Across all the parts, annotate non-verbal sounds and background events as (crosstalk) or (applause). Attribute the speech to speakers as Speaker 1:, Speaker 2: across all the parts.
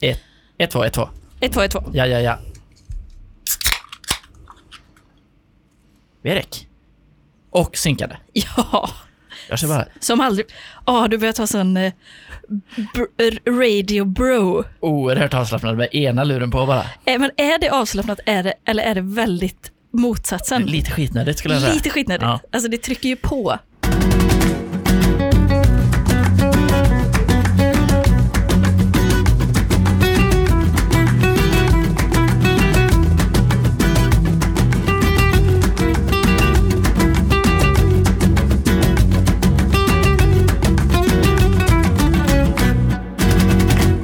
Speaker 1: Ett, ett, två, ett, två.
Speaker 2: 1, 2, 1, 2.
Speaker 1: Ja, ja, ja. Verek. Och sinkade.
Speaker 2: (laughs) Ja,
Speaker 1: Jag ser bara...
Speaker 2: som aldrig... Ja, du börjar ta sån eh, br- r- radio bro.
Speaker 1: oerhört avslappnad med ena luren på bara.
Speaker 2: Eh, Men är det avslappnat är det, eller är det väldigt motsatsen?
Speaker 1: Lite skitnödigt skulle jag säga.
Speaker 2: Lite skitnödigt.
Speaker 1: Ja.
Speaker 2: Alltså det trycker ju på.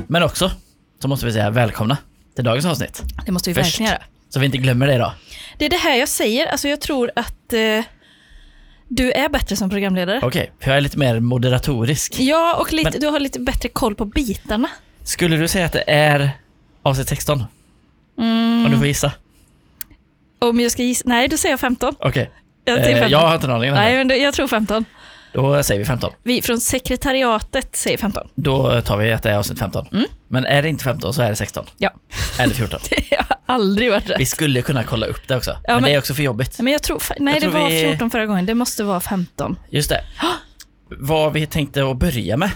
Speaker 1: Men också så måste vi säga välkomna till dagens avsnitt.
Speaker 2: Det måste vi
Speaker 1: Först.
Speaker 2: verkligen göra.
Speaker 1: Så vi inte glömmer det idag.
Speaker 2: Det är det här jag säger, alltså jag tror att eh, du är bättre som programledare.
Speaker 1: Okej, för jag är lite mer moderatorisk.
Speaker 2: Ja, och lite,
Speaker 1: Men-
Speaker 2: du har lite bättre koll på bitarna.
Speaker 1: Skulle du säga att det är avsnitt 16?
Speaker 2: Mm.
Speaker 1: Om du får gissa.
Speaker 2: Om jag ska gissa, nej då säger jag 15.
Speaker 1: Okej.
Speaker 2: Jag, säger
Speaker 1: Eh,
Speaker 2: 15.
Speaker 1: jag har inte en aning om det.
Speaker 2: nej,
Speaker 1: här.
Speaker 2: men det- jag tror 15.
Speaker 1: Då säger vi 15.
Speaker 2: Vi från sekretariatet säger 15.
Speaker 1: Då tar vi att det är avsnitt 15. Men är det inte 15 så är det 16.
Speaker 2: Mm. Ja. (laughs)
Speaker 1: Eller 14.
Speaker 2: jag har aldrig varit rätt.
Speaker 1: Vi skulle kunna kolla upp det också. men,
Speaker 2: men-
Speaker 1: det är också för jobbigt.
Speaker 2: Men jag tror, fa- nej
Speaker 1: Jag tror
Speaker 2: det var
Speaker 1: vi-
Speaker 2: 14 förra gången, det måste vara 15.
Speaker 1: Just det. Vad vi tänkte att börja med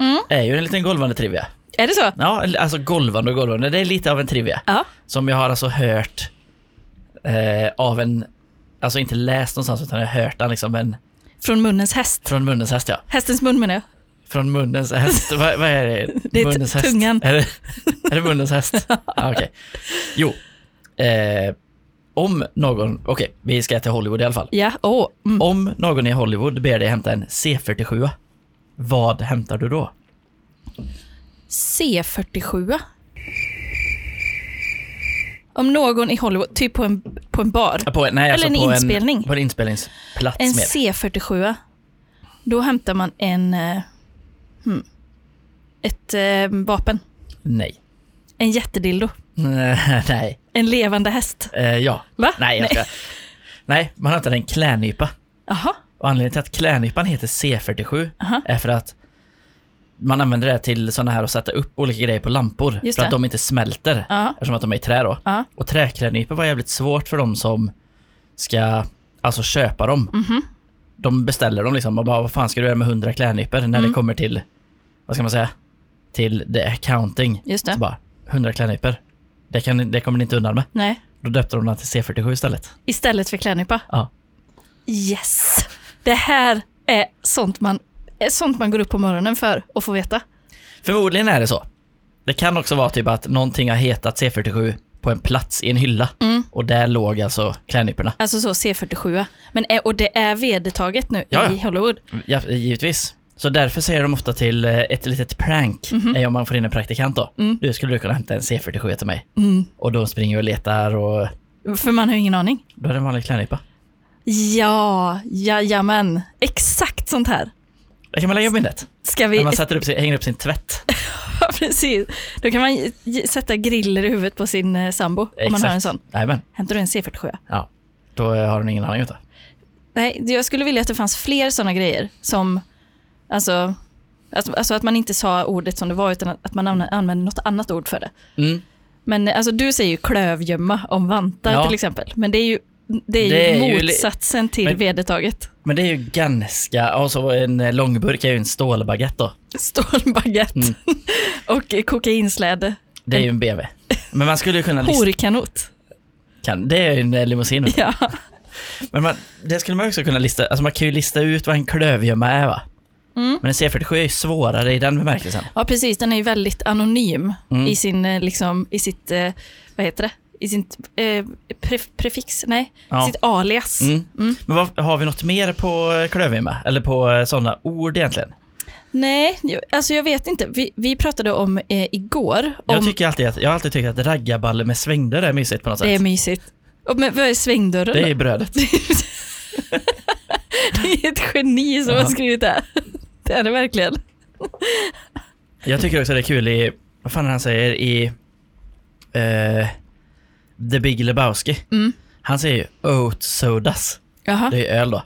Speaker 2: Mm.
Speaker 1: är ju en liten golvande trivia.
Speaker 2: Är det så?
Speaker 1: Ja, alltså golvande och golvande. Det är lite av en trivia.
Speaker 2: Ja.
Speaker 1: Som jag har alltså hört eh, av en, alltså inte läst någonstans utan jag har hört den liksom en,
Speaker 2: Från munnens häst.
Speaker 1: från munnens häst ja.
Speaker 2: Hästens mun menar jag.
Speaker 1: Från munnens
Speaker 2: (laughs)
Speaker 1: häst, vad, vad är det?
Speaker 2: Det är t-
Speaker 1: munnens
Speaker 2: tungan.
Speaker 1: Är det, är det munnens
Speaker 2: (laughs)
Speaker 1: häst? Ja, Okej. Jo. Eh, om någon, okej, vi ska till Hollywood i alla fall.
Speaker 2: Ja, åh. Mm.
Speaker 1: Om någon i Hollywood ber dig hämta en C47, vad hämtar du då?
Speaker 2: C47. Om någon i Hollywood, typ på en, på en bar.
Speaker 1: På, en- nej, alltså
Speaker 2: Eller en
Speaker 1: på
Speaker 2: inspelning.
Speaker 1: En, på en inspelningsplats
Speaker 2: En
Speaker 1: mer.
Speaker 2: C47. Då hämtar man en... eh, Hmm, ett eh, vapen.
Speaker 1: Nej. (laughs)
Speaker 2: En jättedildo.
Speaker 1: nej.
Speaker 2: En levande häst.
Speaker 1: Eh, ja.
Speaker 2: Va?
Speaker 1: Nej, jag ska... Nej, man hämtar en klädnypa.
Speaker 2: Jaha.
Speaker 1: Och anledningen till att klädnypan heter C47
Speaker 2: Aha.
Speaker 1: är för att man använder det till sådana här att sätta upp olika grejer på lampor.
Speaker 2: Just
Speaker 1: för att
Speaker 2: det.
Speaker 1: de inte smälter.
Speaker 2: Ja.
Speaker 1: Eftersom att de är i trä då.
Speaker 2: Ja.
Speaker 1: Och träklädnypor var jävligt svårt för de som ska alltså köpa dem.
Speaker 2: Mhm.
Speaker 1: De beställer dem liksom och bara vad fan ska du göra med 100 klädnypor när
Speaker 2: Mm.
Speaker 1: det kommer till, vad ska man säga, till the accounting.
Speaker 2: Just
Speaker 1: Så
Speaker 2: det.
Speaker 1: bara, 100 klädnypor. Det, kan, det kommer ni inte undan med.
Speaker 2: Nej.
Speaker 1: Då döpte de den till C47 istället.
Speaker 2: Istället för klädnypa.
Speaker 1: Ja.
Speaker 2: Yes! Det här är sånt man, är sånt man går upp på morgonen för och får veta.
Speaker 1: Förmodligen är det så. Det kan också vara typ att någonting har hetat C47 på en plats i en hylla
Speaker 2: Mm.
Speaker 1: och där låg alltså klädnyporna.
Speaker 2: Alltså så C47. Men, är- och det är vedertaget nu
Speaker 1: Ja, ja.
Speaker 2: i Hollywood.
Speaker 1: Ja, givetvis. Så därför säger de ofta till eh, ett litet prank,
Speaker 2: Mhm.
Speaker 1: är om man får in en praktikant då.
Speaker 2: Mm.
Speaker 1: Du, skulle du kunna hämta en C47 till mig? Och de springer och letar och
Speaker 2: För man har ju ingen aning.
Speaker 1: då är det en vanlig klädnypa.
Speaker 2: Ja, jajamän. Exakt sånt här.
Speaker 1: Där kan man lägga upp minnet.
Speaker 2: Ska
Speaker 1: När
Speaker 2: vi... (laughs)
Speaker 1: man sätter upp sin, hänger upp sin tvätt.
Speaker 2: Ja, precis. Då kan man ge- ge- sätta griller i huvudet på sin eh, sambo (laughs) om man har en sån.
Speaker 1: Jajamän.
Speaker 2: Hämtar du en C47?
Speaker 1: Ja. Då eh, har den ingen aning om det.
Speaker 2: Nej, jag skulle vilja att det fanns fler såna grejer som... Alltså, alltså, alltså att man inte sa ordet som det var utan att man använde- använde något annat ord för det.
Speaker 1: Mm.
Speaker 2: Men eh, alltså, du säger ju klövgömma om vantar
Speaker 1: Ja.
Speaker 2: till exempel. Men det är ju, det är
Speaker 1: Det
Speaker 2: ju
Speaker 1: är ju li-
Speaker 2: motsatsen till
Speaker 1: Men-
Speaker 2: vedertaget.
Speaker 1: Men det är ju ganska, alltså en eh, långburk är ju en stålbaguette då.
Speaker 2: Stålbaguette
Speaker 1: Mm.
Speaker 2: (laughs) och eh, kokainsläde.
Speaker 1: Det är ju en BV. Men man skulle ju kunna lista... (laughs)
Speaker 2: Horkanot.
Speaker 1: Kan, det är ju en eh, limousin. vet du.
Speaker 2: Ja.
Speaker 1: (laughs) Men man, det skulle man också kunna lista. Alltså man kan ju lista ut vad en klövgömma är va?
Speaker 2: Mm.
Speaker 1: Men en C47 är ju svårare i den bemärkelsen.
Speaker 2: Ja, precis. Den är ju väldigt anonym
Speaker 1: Mm.
Speaker 2: i sin, eh, liksom, i sitt, eh, vad heter det? I sin eh, pre- prefix, nej,
Speaker 1: Ja.
Speaker 2: sitt alias.
Speaker 1: Mm.
Speaker 2: Mm.
Speaker 1: Men vad, har vi något mer på eh, klövgömma? Eller på sådana ord egentligen?
Speaker 2: Nej, jag- alltså jag vet inte. Vi, vi pratade om eh, igår,
Speaker 1: Jag,
Speaker 2: om
Speaker 1: tycker alltid att, jag har alltid tyckt att raggarballe med svängdörr är mysigt på något sätt.
Speaker 2: det är mysigt. Och, men vad är svängdörren
Speaker 1: Det
Speaker 2: då?
Speaker 1: är ju brödet.
Speaker 2: Det är (laughs) ett geni som
Speaker 1: Ja.
Speaker 2: har skrivit det här. Det är det verkligen.
Speaker 1: Jag tycker också det är kul i, vad fan är det han säger i eh, The Big Lebowski.
Speaker 2: Mm.
Speaker 1: Han säger ju oat sodas.
Speaker 2: (laughs) Jaha.
Speaker 1: Det är öl då.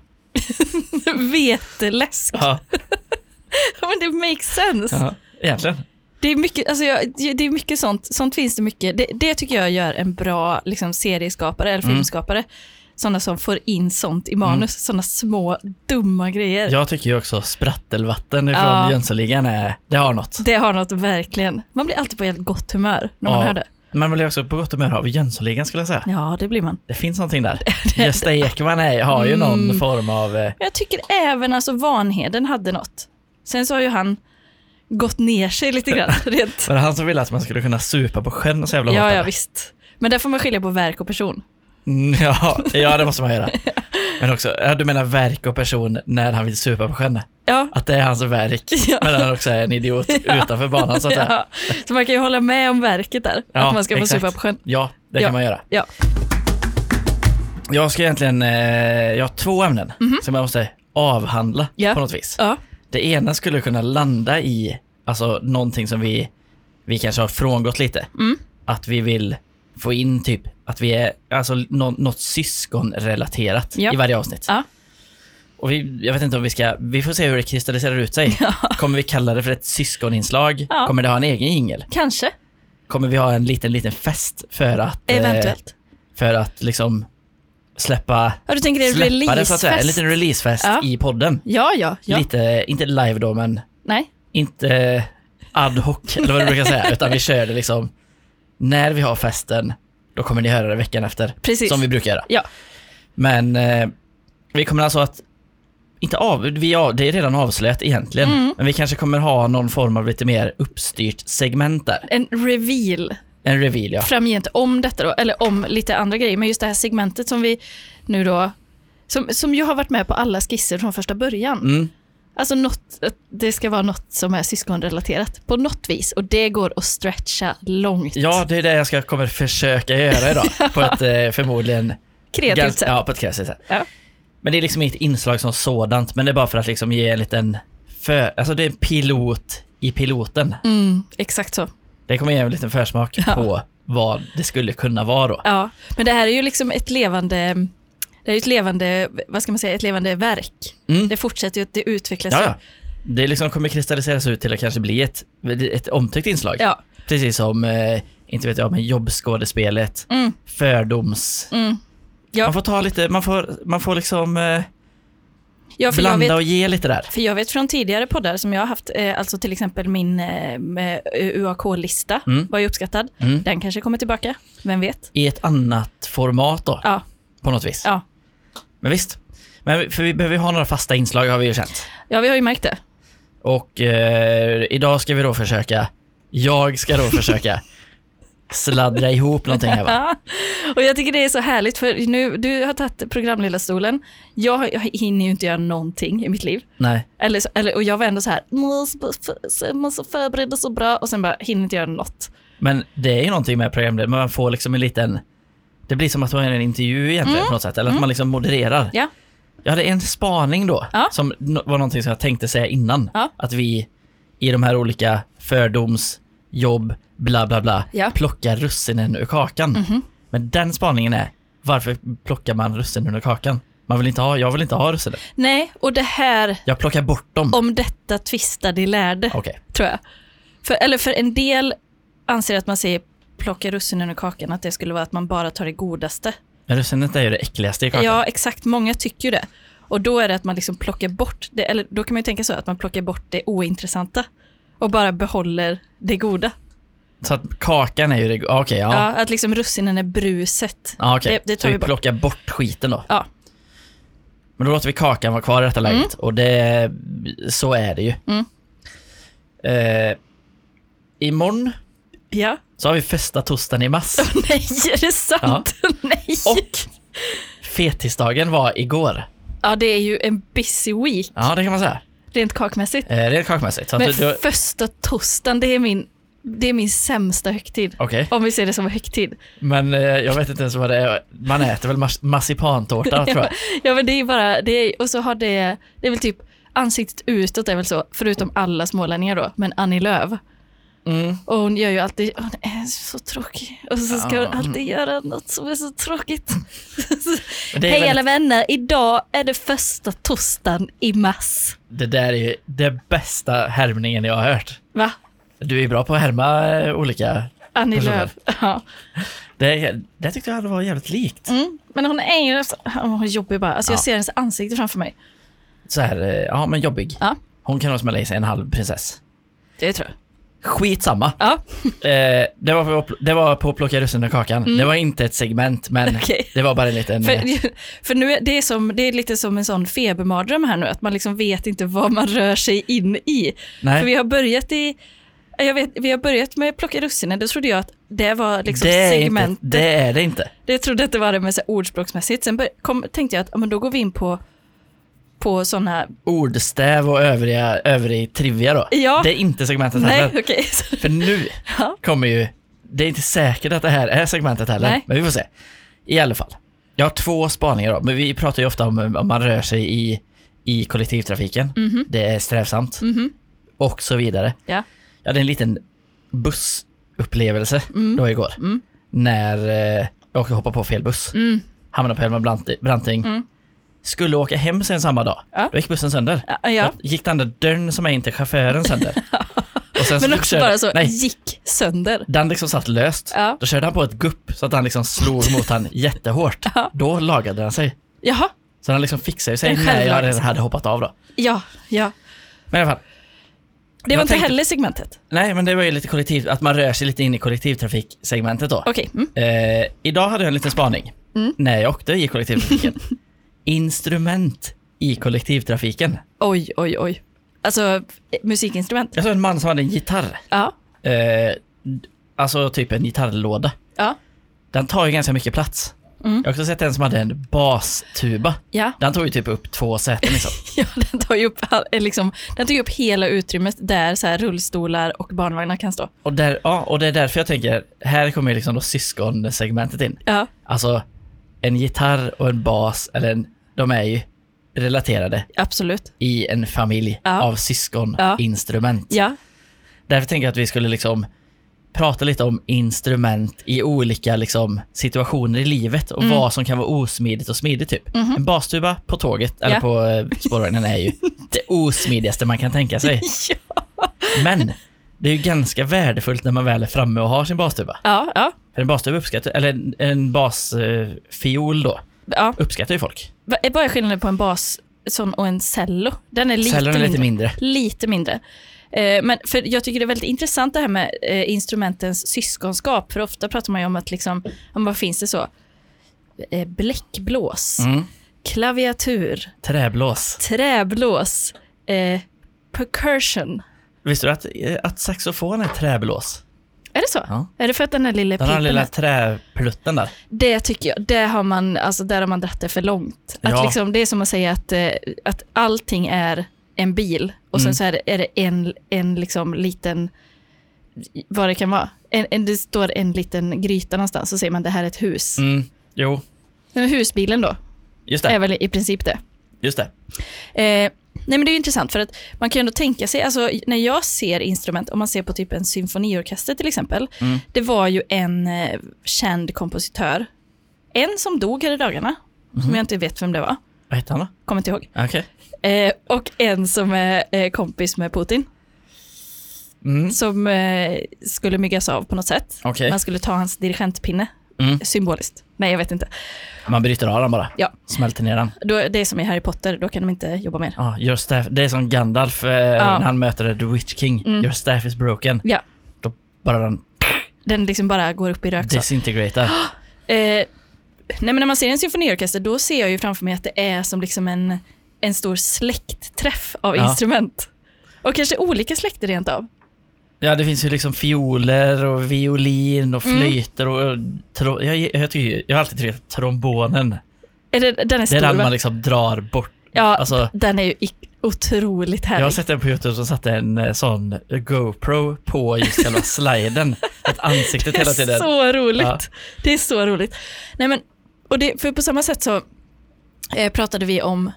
Speaker 2: Veteläsk.
Speaker 1: Ja,
Speaker 2: Men det makes sense.
Speaker 1: ja. egentligen.
Speaker 2: Det är mycket, alltså jag, det är mycket sånt. Sånt finns det mycket. Det, det tycker jag gör en bra liksom, serieskapare
Speaker 1: Mm.
Speaker 2: eller filmskapare. Sådana som får in sånt i manus. Sådana små dumma grejer.
Speaker 1: Jag tycker ju också sprattelvatten ifrån
Speaker 2: Ja.
Speaker 1: Jönssonligan är, det har något.
Speaker 2: Det har något verkligen. Man blir alltid på helt gott humör när man
Speaker 1: Ja.
Speaker 2: hör det.
Speaker 1: Man blir också på gott humör av Jönssonligan skulle jag säga.
Speaker 2: Ja, det blir man.
Speaker 1: Det finns någonting
Speaker 2: (laughs)
Speaker 1: där. Gösta Ekman är, har ju någon
Speaker 2: Mm.
Speaker 1: form av... eh,
Speaker 2: Men jag tycker även alltså Vanheden hade något. Sen så har ju han gått ner sig lite grann. (laughs) Rent.
Speaker 1: Var det han som ville att man skulle kunna supa på sjön så jävla
Speaker 2: Ja,
Speaker 1: hårt,
Speaker 2: ja,
Speaker 1: eller?
Speaker 2: visst. Men där får man skilja på verk och person.
Speaker 1: Mm, ja, ja, det måste man
Speaker 2: (laughs)
Speaker 1: göra. Men också, ja, du menar verk och person när han vill supa på sjön?
Speaker 2: Ja.
Speaker 1: Att det är hans verk,
Speaker 2: (laughs) Ja.
Speaker 1: men han också är en
Speaker 2: (laughs)
Speaker 1: idiot utanför banan så att säga.
Speaker 2: Ja. Så man kan ju hålla med om verket där.
Speaker 1: Ja,
Speaker 2: att man ska få
Speaker 1: exakt.
Speaker 2: supa på sjön.
Speaker 1: Ja, det
Speaker 2: Ja.
Speaker 1: kan man göra.
Speaker 2: Ja.
Speaker 1: Jag ska egentligen, eh, jag har två ämnen som jag måste avhandla
Speaker 2: Mhm. Ja.
Speaker 1: på något vis.
Speaker 2: Ja.
Speaker 1: Det ena skulle kunna landa i alltså, någonting som vi, vi kanske har frångått lite.
Speaker 2: Mm.
Speaker 1: Att vi vill få in typ att vi är alltså, nå- något syskonrelaterat
Speaker 2: Ja.
Speaker 1: i varje avsnitt.
Speaker 2: Ja.
Speaker 1: Och vi, jag vet inte om vi ska, vi får se hur det kristalliserar ut
Speaker 2: (laughs)
Speaker 1: sig. Kommer vi kalla det för ett syskoninslag?
Speaker 2: Ja.
Speaker 1: Kommer det ha en egen jingel?
Speaker 2: Kanske,
Speaker 1: Kommer vi ha en liten, liten fest för att, eh,
Speaker 2: eventuellt.
Speaker 1: för att liksom släppa,
Speaker 2: Ja, du tänker det blir
Speaker 1: släppa det så att säga. En
Speaker 2: releasefest?
Speaker 1: liten releasefest
Speaker 2: Ja.
Speaker 1: i podden.
Speaker 2: Ja, ja, ja.
Speaker 1: Lite, inte live då men
Speaker 2: Nej.
Speaker 1: inte ad hoc (laughs) eller vad du brukar säga, utan vi kör det liksom när vi har festen, då kommer ni höra det veckan efter.
Speaker 2: Precis.
Speaker 1: Som vi brukar göra.
Speaker 2: Ja.
Speaker 1: Men eh, vi kommer alltså att, inte av, vi av, det är redan avslöjat egentligen,
Speaker 2: Mm.
Speaker 1: men vi kanske kommer ha någon form av lite mer uppstyrt segment där.
Speaker 2: En reveal
Speaker 1: En reveal ja.
Speaker 2: framgent om detta då, eller om lite andra grejer. Men just det här segmentet som vi nu då, som, som ju har varit med på alla skisser från första början.
Speaker 1: Mm.
Speaker 2: Alltså något, att det ska vara något som är syskonrelaterat på något vis och det går att stretcha långt.
Speaker 1: Ja, det är det jag ska, kommer försöka göra
Speaker 2: (laughs)
Speaker 1: idag. på ett eh, förmodligen...
Speaker 2: Kreativt
Speaker 1: gans-
Speaker 2: sätt.
Speaker 1: Ja, på ett kreativt sätt.
Speaker 2: Ja.
Speaker 1: Men det är liksom inget inslag som sådant, men det är bara för att liksom ge en liten... För, alltså det är en pilot i piloten.
Speaker 2: Mm, exakt så.
Speaker 1: Det kommer ge en liten försmak på vad det skulle kunna vara då.
Speaker 2: Ja, men det här är ju liksom ett levande, det är ju ett levande, vad ska man säga, ett levande verk.
Speaker 1: Mm.
Speaker 2: Det fortsätter ju att det utvecklas.
Speaker 1: Ja, ja. Det liksom kommer kristalliseras ut till att kanske bli ett, ett omtyckt inslag.
Speaker 2: ja.
Speaker 1: Precis som, eh, inte vet jag, men jobbskådespelet,
Speaker 2: Mm,
Speaker 1: fördoms...
Speaker 2: mm. Ja.
Speaker 1: Man får ta lite, man får, man får liksom eh,
Speaker 2: ja för jag
Speaker 1: blanda
Speaker 2: vet,
Speaker 1: och ge lite där.
Speaker 2: för jag vet från tidigare poddar som jag har haft, eh, alltså till exempel min eh, med UAK-lista
Speaker 1: Mm.
Speaker 2: var ju uppskattad.
Speaker 1: Mm.
Speaker 2: Den kanske kommer tillbaka, vem vet?
Speaker 1: I ett annat format då,
Speaker 2: Ja,
Speaker 1: på något vis.
Speaker 2: ja.
Speaker 1: Men visst. Men vi- för vi behöver ju ha några fasta inslag har vi ju känt.
Speaker 2: ja vi har ju märkt det.
Speaker 1: Och eh, idag ska vi då försöka, jag ska då
Speaker 2: (laughs)
Speaker 1: försöka sladdra ihop någonting här va?
Speaker 2: Ja. Och jag tycker det är så härligt för nu, du har tagit programledarstolen. Jag, har- jag hinner ju inte göra någonting i mitt liv.
Speaker 1: Nej.
Speaker 2: Eller, så- eller, och jag var ändå så här, måste måste förbereda så bra och sen bara hinner inte göra något.
Speaker 1: Men det är ju någonting med programledare, men man får liksom en liten... Det blir som att man är i en intervju egentligen på något sätt, eller att man liksom modererar.
Speaker 2: Mm. Ja.
Speaker 1: Jag hade en spaning då,
Speaker 2: Ja.
Speaker 1: som no- var någonting som jag tänkte säga innan.
Speaker 2: Ja.
Speaker 1: Att vi i de här olika fördoms, jobb, bla bla bla,
Speaker 2: Ja. Mhm.
Speaker 1: plockar russinen ur kakan. Men den spaningen är, varför plockar man russinen ur kakan? Man vill inte ha, jag vill inte ha russinen.
Speaker 2: Nej, och det här,
Speaker 1: Jag plockar bort dem.
Speaker 2: om detta tvistar de lärde,
Speaker 1: Okej.
Speaker 2: tror jag. För, eller för en del anser att man säger plocka russinen ur kakan, att det skulle vara att man bara tar det godaste.
Speaker 1: Men russinet är ju det äckligaste i kakan.
Speaker 2: Ja, exakt, många tycker ju det. Och då är det att man liksom plockar bort det, eller då kan man ju tänka så, att man plockar bort det ointressanta och bara behåller det goda.
Speaker 1: Så att kakan är ju det, go- ah, okej, ja.
Speaker 2: Ja.
Speaker 1: ja.
Speaker 2: att liksom russinen är bruset.
Speaker 1: Ah, okej.
Speaker 2: Det- det tar
Speaker 1: Så vi
Speaker 2: vi bort.
Speaker 1: plockar bort skiten då.
Speaker 2: Ja.
Speaker 1: Men då låter vi kakan vara kvar i detta läget och det, så är det ju.
Speaker 2: Mm.
Speaker 1: Eh, imorgon
Speaker 2: Ja.
Speaker 1: så har vi första torsdagen i
Speaker 2: (laughs)
Speaker 1: mass
Speaker 2: Nej, är det sant? Nej.
Speaker 1: och fetisdagen var igår.
Speaker 2: Ja, det är ju en busy week,
Speaker 1: Ja, det kan man säga.
Speaker 2: rent kakmässigt.
Speaker 1: Eh, rent kakmässigt. Så att
Speaker 2: Men
Speaker 1: du, du,
Speaker 2: första torsdagen, det är min, det är min sämsta högtid.
Speaker 1: Okej,
Speaker 2: Om vi ser det som en högtid.
Speaker 1: men eh, jag vet inte ens vad det är. Man äter väl mas- marsipantårta tror jag.
Speaker 2: (laughs) Ja, men det är ju bara, det är, och så har det, det är väl typ ansiktet utåt är väl så, förutom alla smålänningar då, men Annie Lööf.
Speaker 1: Mm.
Speaker 2: Och hon gör ju alltid, hon är så tråkig. Och så ska
Speaker 1: Ja.
Speaker 2: hon alltid göra något som är så tråkigt.
Speaker 1: Men det, är
Speaker 2: Hej
Speaker 1: väl-
Speaker 2: alla vänner, idag är det första torsdagen i mars.
Speaker 1: det där är ju den bästa härmningen jag har hört.
Speaker 2: Va?
Speaker 1: Du är bra på att härma eh, olika.
Speaker 2: Annie
Speaker 1: Personer.
Speaker 2: Lööf. (laughs) Ja.
Speaker 1: Det, det tyckte jag var jävligt likt.
Speaker 2: Mm. Men hon är ju så- åh, hon är jobbig bara. Alltså,
Speaker 1: Ja.
Speaker 2: Jag ser hennes ansikte framför mig.
Speaker 1: Så här, eh, ja men jobbig.
Speaker 2: Ja.
Speaker 1: Hon kan nog smälla i sig en halv prinsess.
Speaker 2: Det tror jag.
Speaker 1: Skitsamma.
Speaker 2: Ja.
Speaker 1: Eh, det, var på, det var på Plocka russinen ur kakan. Det var inte ett segment, men
Speaker 2: Mm. (laughs) Okej.
Speaker 1: det var bara en liten... eh,
Speaker 2: För, för nu är det, är som, det är lite som en sån febermardröm här nu, att man liksom vet inte vad man rör sig in i.
Speaker 1: nej.
Speaker 2: För vi har börjat i jag vet, vi har börjat med plocka russinen, då trodde jag att det var liksom
Speaker 1: det, är inte,
Speaker 2: segment. det...
Speaker 1: det är det inte.
Speaker 2: Jag trodde att det var det med så här ordspråksmässigt. Sen bör, kom, tänkte jag att ja, men då går vi in på, på sådana,
Speaker 1: Ordstäv och övriga, övrig trivia då.
Speaker 2: Ja.
Speaker 1: Det är inte segmentet
Speaker 2: nej
Speaker 1: heller.
Speaker 2: okej. (laughs)
Speaker 1: För nu
Speaker 2: Ja.
Speaker 1: kommer ju... Det är inte säkert att det här är segmentet heller,
Speaker 2: Nej.
Speaker 1: men vi får se. I alla fall. Jag har två spaningar då, men vi pratar ju ofta om om man rör sig i, i kollektivtrafiken.
Speaker 2: Mhm.
Speaker 1: Det är strävsamt
Speaker 2: Mhm.
Speaker 1: och så vidare.
Speaker 2: Ja.
Speaker 1: Jag hade en liten bussupplevelse då igår.
Speaker 2: Mm.
Speaker 1: När eh, jag åkte hoppa på fel buss.
Speaker 2: Mm.
Speaker 1: Hamnade på Helmer Brant- Branting.
Speaker 2: Mm.
Speaker 1: Skulle åka hem sen samma dag.
Speaker 2: Ja.
Speaker 1: Då gick bussen sönder.
Speaker 2: Ja, ja.
Speaker 1: Då gick den där dörren som är inte chauffören
Speaker 2: (laughs)
Speaker 1: sönder. Och sen
Speaker 2: Men också
Speaker 1: körde-
Speaker 2: bara så,
Speaker 1: Nej,
Speaker 2: gick sönder.
Speaker 1: den liksom satt löst.
Speaker 2: Ja.
Speaker 1: Då körde han på ett gupp så att han liksom
Speaker 2: (laughs)
Speaker 1: slog mot han jättehårt.
Speaker 2: Ja.
Speaker 1: Då lagade han sig.
Speaker 2: Jaha,
Speaker 1: Så han liksom fixade sig när
Speaker 2: Den
Speaker 1: jag
Speaker 2: självlagade
Speaker 1: redan
Speaker 2: sig.
Speaker 1: hade hoppat av då.
Speaker 2: ja, ja.
Speaker 1: Men i alla fall,
Speaker 2: Det var
Speaker 1: Jag
Speaker 2: inte
Speaker 1: tänkte-
Speaker 2: heller segmentet.
Speaker 1: nej men det var ju lite kollektiv, att man rör sig lite in i kollektivtrafiksegmentet då.
Speaker 2: Okej, mm.
Speaker 1: Eh, idag hade jag en liten spaning
Speaker 2: Mm.
Speaker 1: när jag åkte i
Speaker 2: (laughs)
Speaker 1: kollektivtrafiken. Instrument i kollektivtrafiken.
Speaker 2: oj, oj, oj. Alltså, musikinstrument.
Speaker 1: Jag såg en man som hade en gitarr.
Speaker 2: Ja,
Speaker 1: Eh, d- alltså typ en gitarrlåda.
Speaker 2: ja,
Speaker 1: Den tar ju ganska mycket plats.
Speaker 2: Mm.
Speaker 1: Jag har också sett en som hade en bastuba.
Speaker 2: ja.
Speaker 1: Den tog ju typ upp två säten liksom.
Speaker 2: (laughs) Ja, den tar ju upp, all- eh, liksom, den tar ju upp hela utrymmet där så här, rullstolar och barnvagnar kan stå.
Speaker 1: och, där, ja, och det är därför jag tänker, här kommer ju liksom då syskonsegmentet in.
Speaker 2: Ja,
Speaker 1: Alltså, en gitarr och en bas, eller en, de är ju relaterade
Speaker 2: absolut.
Speaker 1: i en familj
Speaker 2: Ja.
Speaker 1: av syskoninstrument.
Speaker 2: Ja,
Speaker 1: Därför tänker jag att vi skulle liksom prata lite om instrument i olika liksom, situationer i livet
Speaker 2: Mm.
Speaker 1: och vad som kan vara osmidigt och smidigt. Typ. En bastuba på tåget eller
Speaker 2: Mhm. Ja.
Speaker 1: på eh, spårvagnen är
Speaker 2: (laughs)
Speaker 1: ju det osmidigaste man kan tänka sig. Men det är ju ganska värdefullt när man väl är framme och har sin bastuba.
Speaker 2: (laughs) ja, ja.
Speaker 1: För en bastuba uppskattar, eller en, en basfiol då,
Speaker 2: ja.
Speaker 1: uppskattar ju folk.
Speaker 2: Va- eh, Vad är skillnaden på en bas sån, och en cello? Den är lite
Speaker 1: Sällan är
Speaker 2: mindre.
Speaker 1: lite mindre.
Speaker 2: Lite mindre. Eh, Men för jag tycker det är väldigt intressant det här med eh, instrumentens syskonskap. För ofta pratar man ju om att, liksom, om vad finns det så? Eh, Bläckblås,
Speaker 1: Mm.
Speaker 2: klaviatur,
Speaker 1: Träblås.
Speaker 2: träblås, eh, percussion.
Speaker 1: Visste du att, eh, att saxofon är träblås?
Speaker 2: Är det så?
Speaker 1: Ja.
Speaker 2: Är det för att den här lilla
Speaker 1: Den har
Speaker 2: pipan
Speaker 1: den lilla
Speaker 2: är-
Speaker 1: träplutten där.
Speaker 2: Det tycker jag, det har man, alltså där har man dratt det för långt. Att
Speaker 1: Ja.
Speaker 2: liksom, det är som att säga att, eh, att allting är en bil och sen
Speaker 1: Mm.
Speaker 2: så är det, är det en, en liksom liten, vad det kan vara, en, en, det står en liten gryta någonstans så säger man det här är ett hus.
Speaker 1: Mm. Jo,
Speaker 2: Den här husbilen då,
Speaker 1: just
Speaker 2: är
Speaker 1: det.
Speaker 2: väl i princip det.
Speaker 1: Just det.
Speaker 2: Eh, nej men det är ju intressant för att man kan ju ändå tänka sig, alltså när jag ser instrument, om man ser på typ en symfoniorkester till exempel,
Speaker 1: Mm.
Speaker 2: det var ju en eh, känd kompositör, en som dog här i dagarna,
Speaker 1: Mhm.
Speaker 2: som jag inte vet vem det var,
Speaker 1: Vad heter han då? Ah,
Speaker 2: kommer inte ihåg,
Speaker 1: Okej.
Speaker 2: eh, och en som är eh, kompis med Putin,
Speaker 1: Mm.
Speaker 2: som eh, skulle myggas av på något sätt.
Speaker 1: Okej.
Speaker 2: Man skulle ta hans dirigentpinne,
Speaker 1: Mm.
Speaker 2: symboliskt. Nej, jag vet inte.
Speaker 1: Man bryter av den bara.
Speaker 2: Ja.
Speaker 1: Smälter ner den.
Speaker 2: Då, det är som i Harry Potter, då kan de inte jobba mer.
Speaker 1: Ja, your staff. Det är som Gandalf eh, när han möter The Witch King.
Speaker 2: Mm.
Speaker 1: Your staff is broken.
Speaker 2: Ja,
Speaker 1: Då bara den
Speaker 2: den liksom bara går upp i rök. så.
Speaker 1: disintegrator.
Speaker 2: Eh, nej men när man ser en symfoniorkester då ser jag ju framför mig att det är som liksom en, en stor släktträff av
Speaker 1: Ja.
Speaker 2: instrument. Och kanske olika släkter rent av.
Speaker 1: Ja, det finns ju liksom fioler och violin
Speaker 2: Mm.
Speaker 1: och flöjter och... Tro- jag, jag, tycker, ju- jag har alltid tyckt att trombonen,
Speaker 2: Är det, den är
Speaker 1: det är
Speaker 2: stor
Speaker 1: den man
Speaker 2: va?
Speaker 1: liksom drar bort.
Speaker 2: Ja,
Speaker 1: Alltså,
Speaker 2: den är ju i- otroligt
Speaker 1: jag har
Speaker 2: härlig.
Speaker 1: sett en på YouTube som satte en eh, sån GoPro på just
Speaker 2: (laughs)
Speaker 1: själva sliden. Att ansiktet
Speaker 2: Det
Speaker 1: hela
Speaker 2: är
Speaker 1: tiden.
Speaker 2: så roligt.
Speaker 1: Ja.
Speaker 2: Det är så roligt. Nej men, och det, för på samma sätt så eh, pratade vi om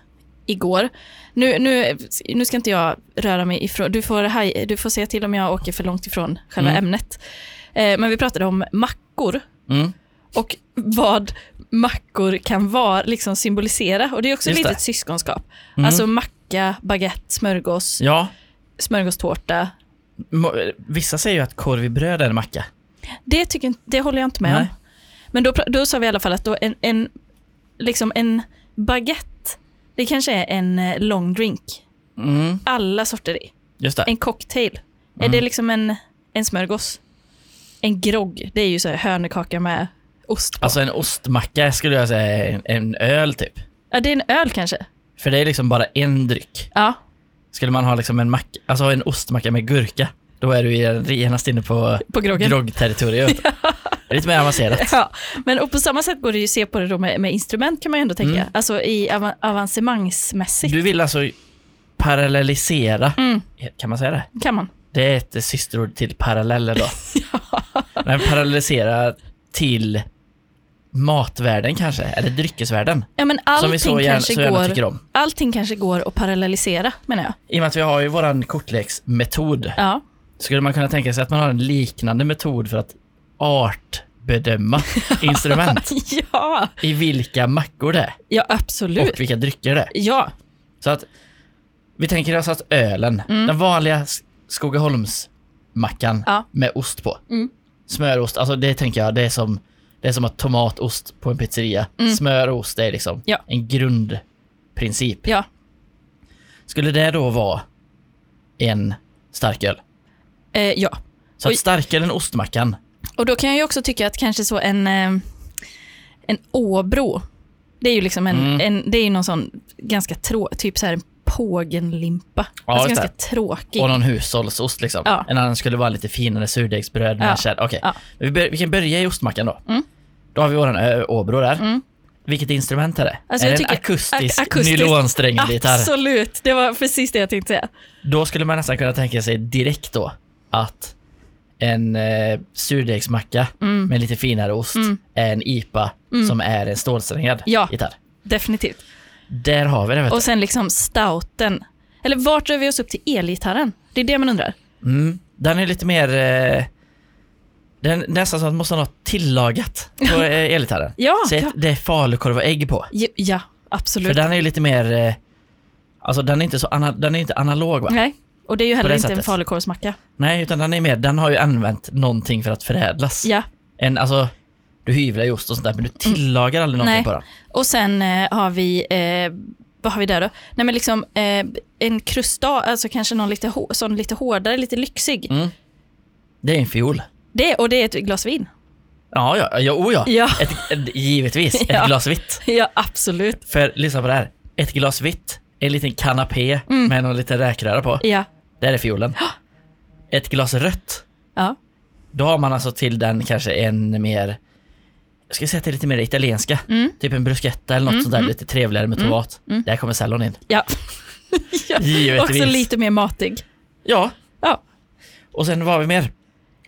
Speaker 2: igår. Nu, nu, nu ska inte jag röra mig ifrån, du får, haj, du får säga till om jag åker för långt ifrån själva
Speaker 1: Mm.
Speaker 2: ämnet. Eh, men vi pratade om mackor.
Speaker 1: Mm.
Speaker 2: och vad mackor kan vara, liksom symbolisera. Och det är också
Speaker 1: Just
Speaker 2: lite
Speaker 1: det.
Speaker 2: ett syskonskap.
Speaker 1: Mm.
Speaker 2: Alltså macka, baguette, smörgås,
Speaker 1: Ja,
Speaker 2: smörgåstårta,
Speaker 1: Mo- Vissa säger ju att korv i bröd är en macka.
Speaker 2: Det, tycker, inte- det håller jag inte med om.
Speaker 1: Nej.
Speaker 2: Men då, pra- då sa vi i alla fall att då en, en, liksom en baguette, det kanske är en eh, long drink.
Speaker 1: Mm,
Speaker 2: Alla sorter i.
Speaker 1: just det.
Speaker 2: En cocktail.
Speaker 1: Mm.
Speaker 2: Är det liksom en, en smörgås? En grogg, det är ju så här hönökaka med ost på.
Speaker 1: Alltså en ostmacka skulle jag säga är en, en öl typ.
Speaker 2: ja, det är en öl kanske?
Speaker 1: För det är liksom bara en dryck.
Speaker 2: Ja.
Speaker 1: Skulle man ha liksom en, mack, alltså en ostmacka med gurka, då är du ju genast inne på
Speaker 2: På groggen.
Speaker 1: groggterritoriet. Det är Lite mer avancerat.
Speaker 2: (laughs) Ja, men och på samma sätt går det ju att se på det då med, med instrument kan man ju ändå tänka.
Speaker 1: Mm.
Speaker 2: Alltså i av, avancemangsmässigt
Speaker 1: Du vill alltså parallellisera,
Speaker 2: Mm.
Speaker 1: kan man säga det?
Speaker 2: kan man.
Speaker 1: Det är ett systerord till paralleller
Speaker 2: (laughs)
Speaker 1: då. Men parallelisera till matvärlden kanske, eller dryckesvärlden.
Speaker 2: Ja, men
Speaker 1: som vi
Speaker 2: allting,
Speaker 1: så gärna,
Speaker 2: kanske
Speaker 1: så gärna tycker
Speaker 2: går,
Speaker 1: om.
Speaker 2: allting kanske går att parallellisera menar jag.
Speaker 1: I och med att vi har ju våran kortleksmetod,
Speaker 2: Ja.
Speaker 1: skulle man kunna tänka sig att man har en liknande metod för att artbedöma
Speaker 2: (laughs)
Speaker 1: instrument.
Speaker 2: ja.
Speaker 1: I vilka mackor det är
Speaker 2: ja, absolut.
Speaker 1: och vilka drycker det är.
Speaker 2: Ja,
Speaker 1: Så att vi tänker oss att ölen, den vanliga S- Skogaholmsmackan
Speaker 2: Mm. Ja.
Speaker 1: med ost på.
Speaker 2: Mm.
Speaker 1: Smörost, alltså det tänker jag, det är som, det är som att tomatost på en pizzeria. Smör och ost det är liksom
Speaker 2: Mm. Ja.
Speaker 1: en grundprincip.
Speaker 2: ja.
Speaker 1: Skulle det då vara en starköl?
Speaker 2: Eh, ja.
Speaker 1: Så
Speaker 2: Oj.
Speaker 1: att starkölen, ostmackan,
Speaker 2: Och då kan jag ju också tycka att kanske så en, eh, en Åbro, det är ju liksom en,
Speaker 1: Mm.
Speaker 2: en, det är ju någon sån ganska trå, typ så här en pågenlimpa.
Speaker 1: Ja,
Speaker 2: alltså
Speaker 1: just
Speaker 2: ganska tråkig.
Speaker 1: och någon hushållsost liksom.
Speaker 2: Ja.
Speaker 1: En annan skulle vara lite finare surdegsbröd med
Speaker 2: Ja.
Speaker 1: kärl. Okej,
Speaker 2: Ja.
Speaker 1: Men vi, bör- vi kan börja i ostmackan då.
Speaker 2: Mm.
Speaker 1: Då har vi våran ö, Åbro där.
Speaker 2: Mm.
Speaker 1: Vilket instrument är det?
Speaker 2: Alltså,
Speaker 1: är
Speaker 2: jag
Speaker 1: det en
Speaker 2: tycker-
Speaker 1: akustisk,
Speaker 2: ak- akustisk-
Speaker 1: nylonsträngad gitarr?
Speaker 2: Absolut, det var precis det jag tänkte säga.
Speaker 1: Då skulle man nästan kunna tänka sig direkt då att en eh, surdegsmacka
Speaker 2: Mm.
Speaker 1: med lite finare ost är en IPA som är en stålsträngad
Speaker 2: Ja.
Speaker 1: gitarr.
Speaker 2: Definitivt.
Speaker 1: Där har vi det. Vet du.
Speaker 2: Och sen liksom stouten. Eller vart rör vi oss upp till elgitarren? Det är det man undrar.
Speaker 1: Mm. Den är lite mer... Eh, den är nästan så att man måste ha något tillagat på
Speaker 2: (laughs)
Speaker 1: eh, elgitarren.
Speaker 2: Ja,
Speaker 1: Så att
Speaker 2: ja.
Speaker 1: det är falukorv och ägg på.
Speaker 2: Ja, ja
Speaker 1: För
Speaker 2: absolut.
Speaker 1: den är ju lite mer... Eh, alltså den är inte så ana, den är inte analog va?
Speaker 2: Nej. Och det är ju heller
Speaker 1: det
Speaker 2: inte en
Speaker 1: sättet.
Speaker 2: falukorvsmacka.
Speaker 1: Nej, utan den är mer, den har ju använt någonting för att förädlas.
Speaker 2: Ja. Mm.
Speaker 1: En, alltså, du hyvlar ju ost och sånt där, men du tillagar aldrig någonting
Speaker 2: Nej.
Speaker 1: på den.
Speaker 2: Och sen eh, har vi, eh, vad har vi där då? Nej men liksom eh, en krusta, alltså kanske någon lite, hår, sån lite hårdare, lite lyxig.
Speaker 1: Mm. Det är en fiol.
Speaker 2: Det, och det är ett glas vin.
Speaker 1: Ja, ja, ja, oh, ja.
Speaker 2: Ja,
Speaker 1: Ett, ett, givetvis, ett
Speaker 2: (laughs) Ja.
Speaker 1: glas vitt.
Speaker 2: (laughs) ja absolut.
Speaker 1: För lyssna på det här. Ett glas vitt, en liten kanapé med någon liten räkröra på.
Speaker 2: Mm. Ja.
Speaker 1: Där är fiolen. Ett glas rött,
Speaker 2: ja.
Speaker 1: då har man alltså till den kanske en mer, jag ska säga att det är lite mer italienska.
Speaker 2: Mm.
Speaker 1: Typ en bruschetta eller något sånt där lite trevligare med tomat. Där kommer sellon in.
Speaker 2: ja. (laughs) ja.
Speaker 1: Givetvis.
Speaker 2: Också lite mer matig.
Speaker 1: Ja,
Speaker 2: Ja.
Speaker 1: och sen vad har vi mer?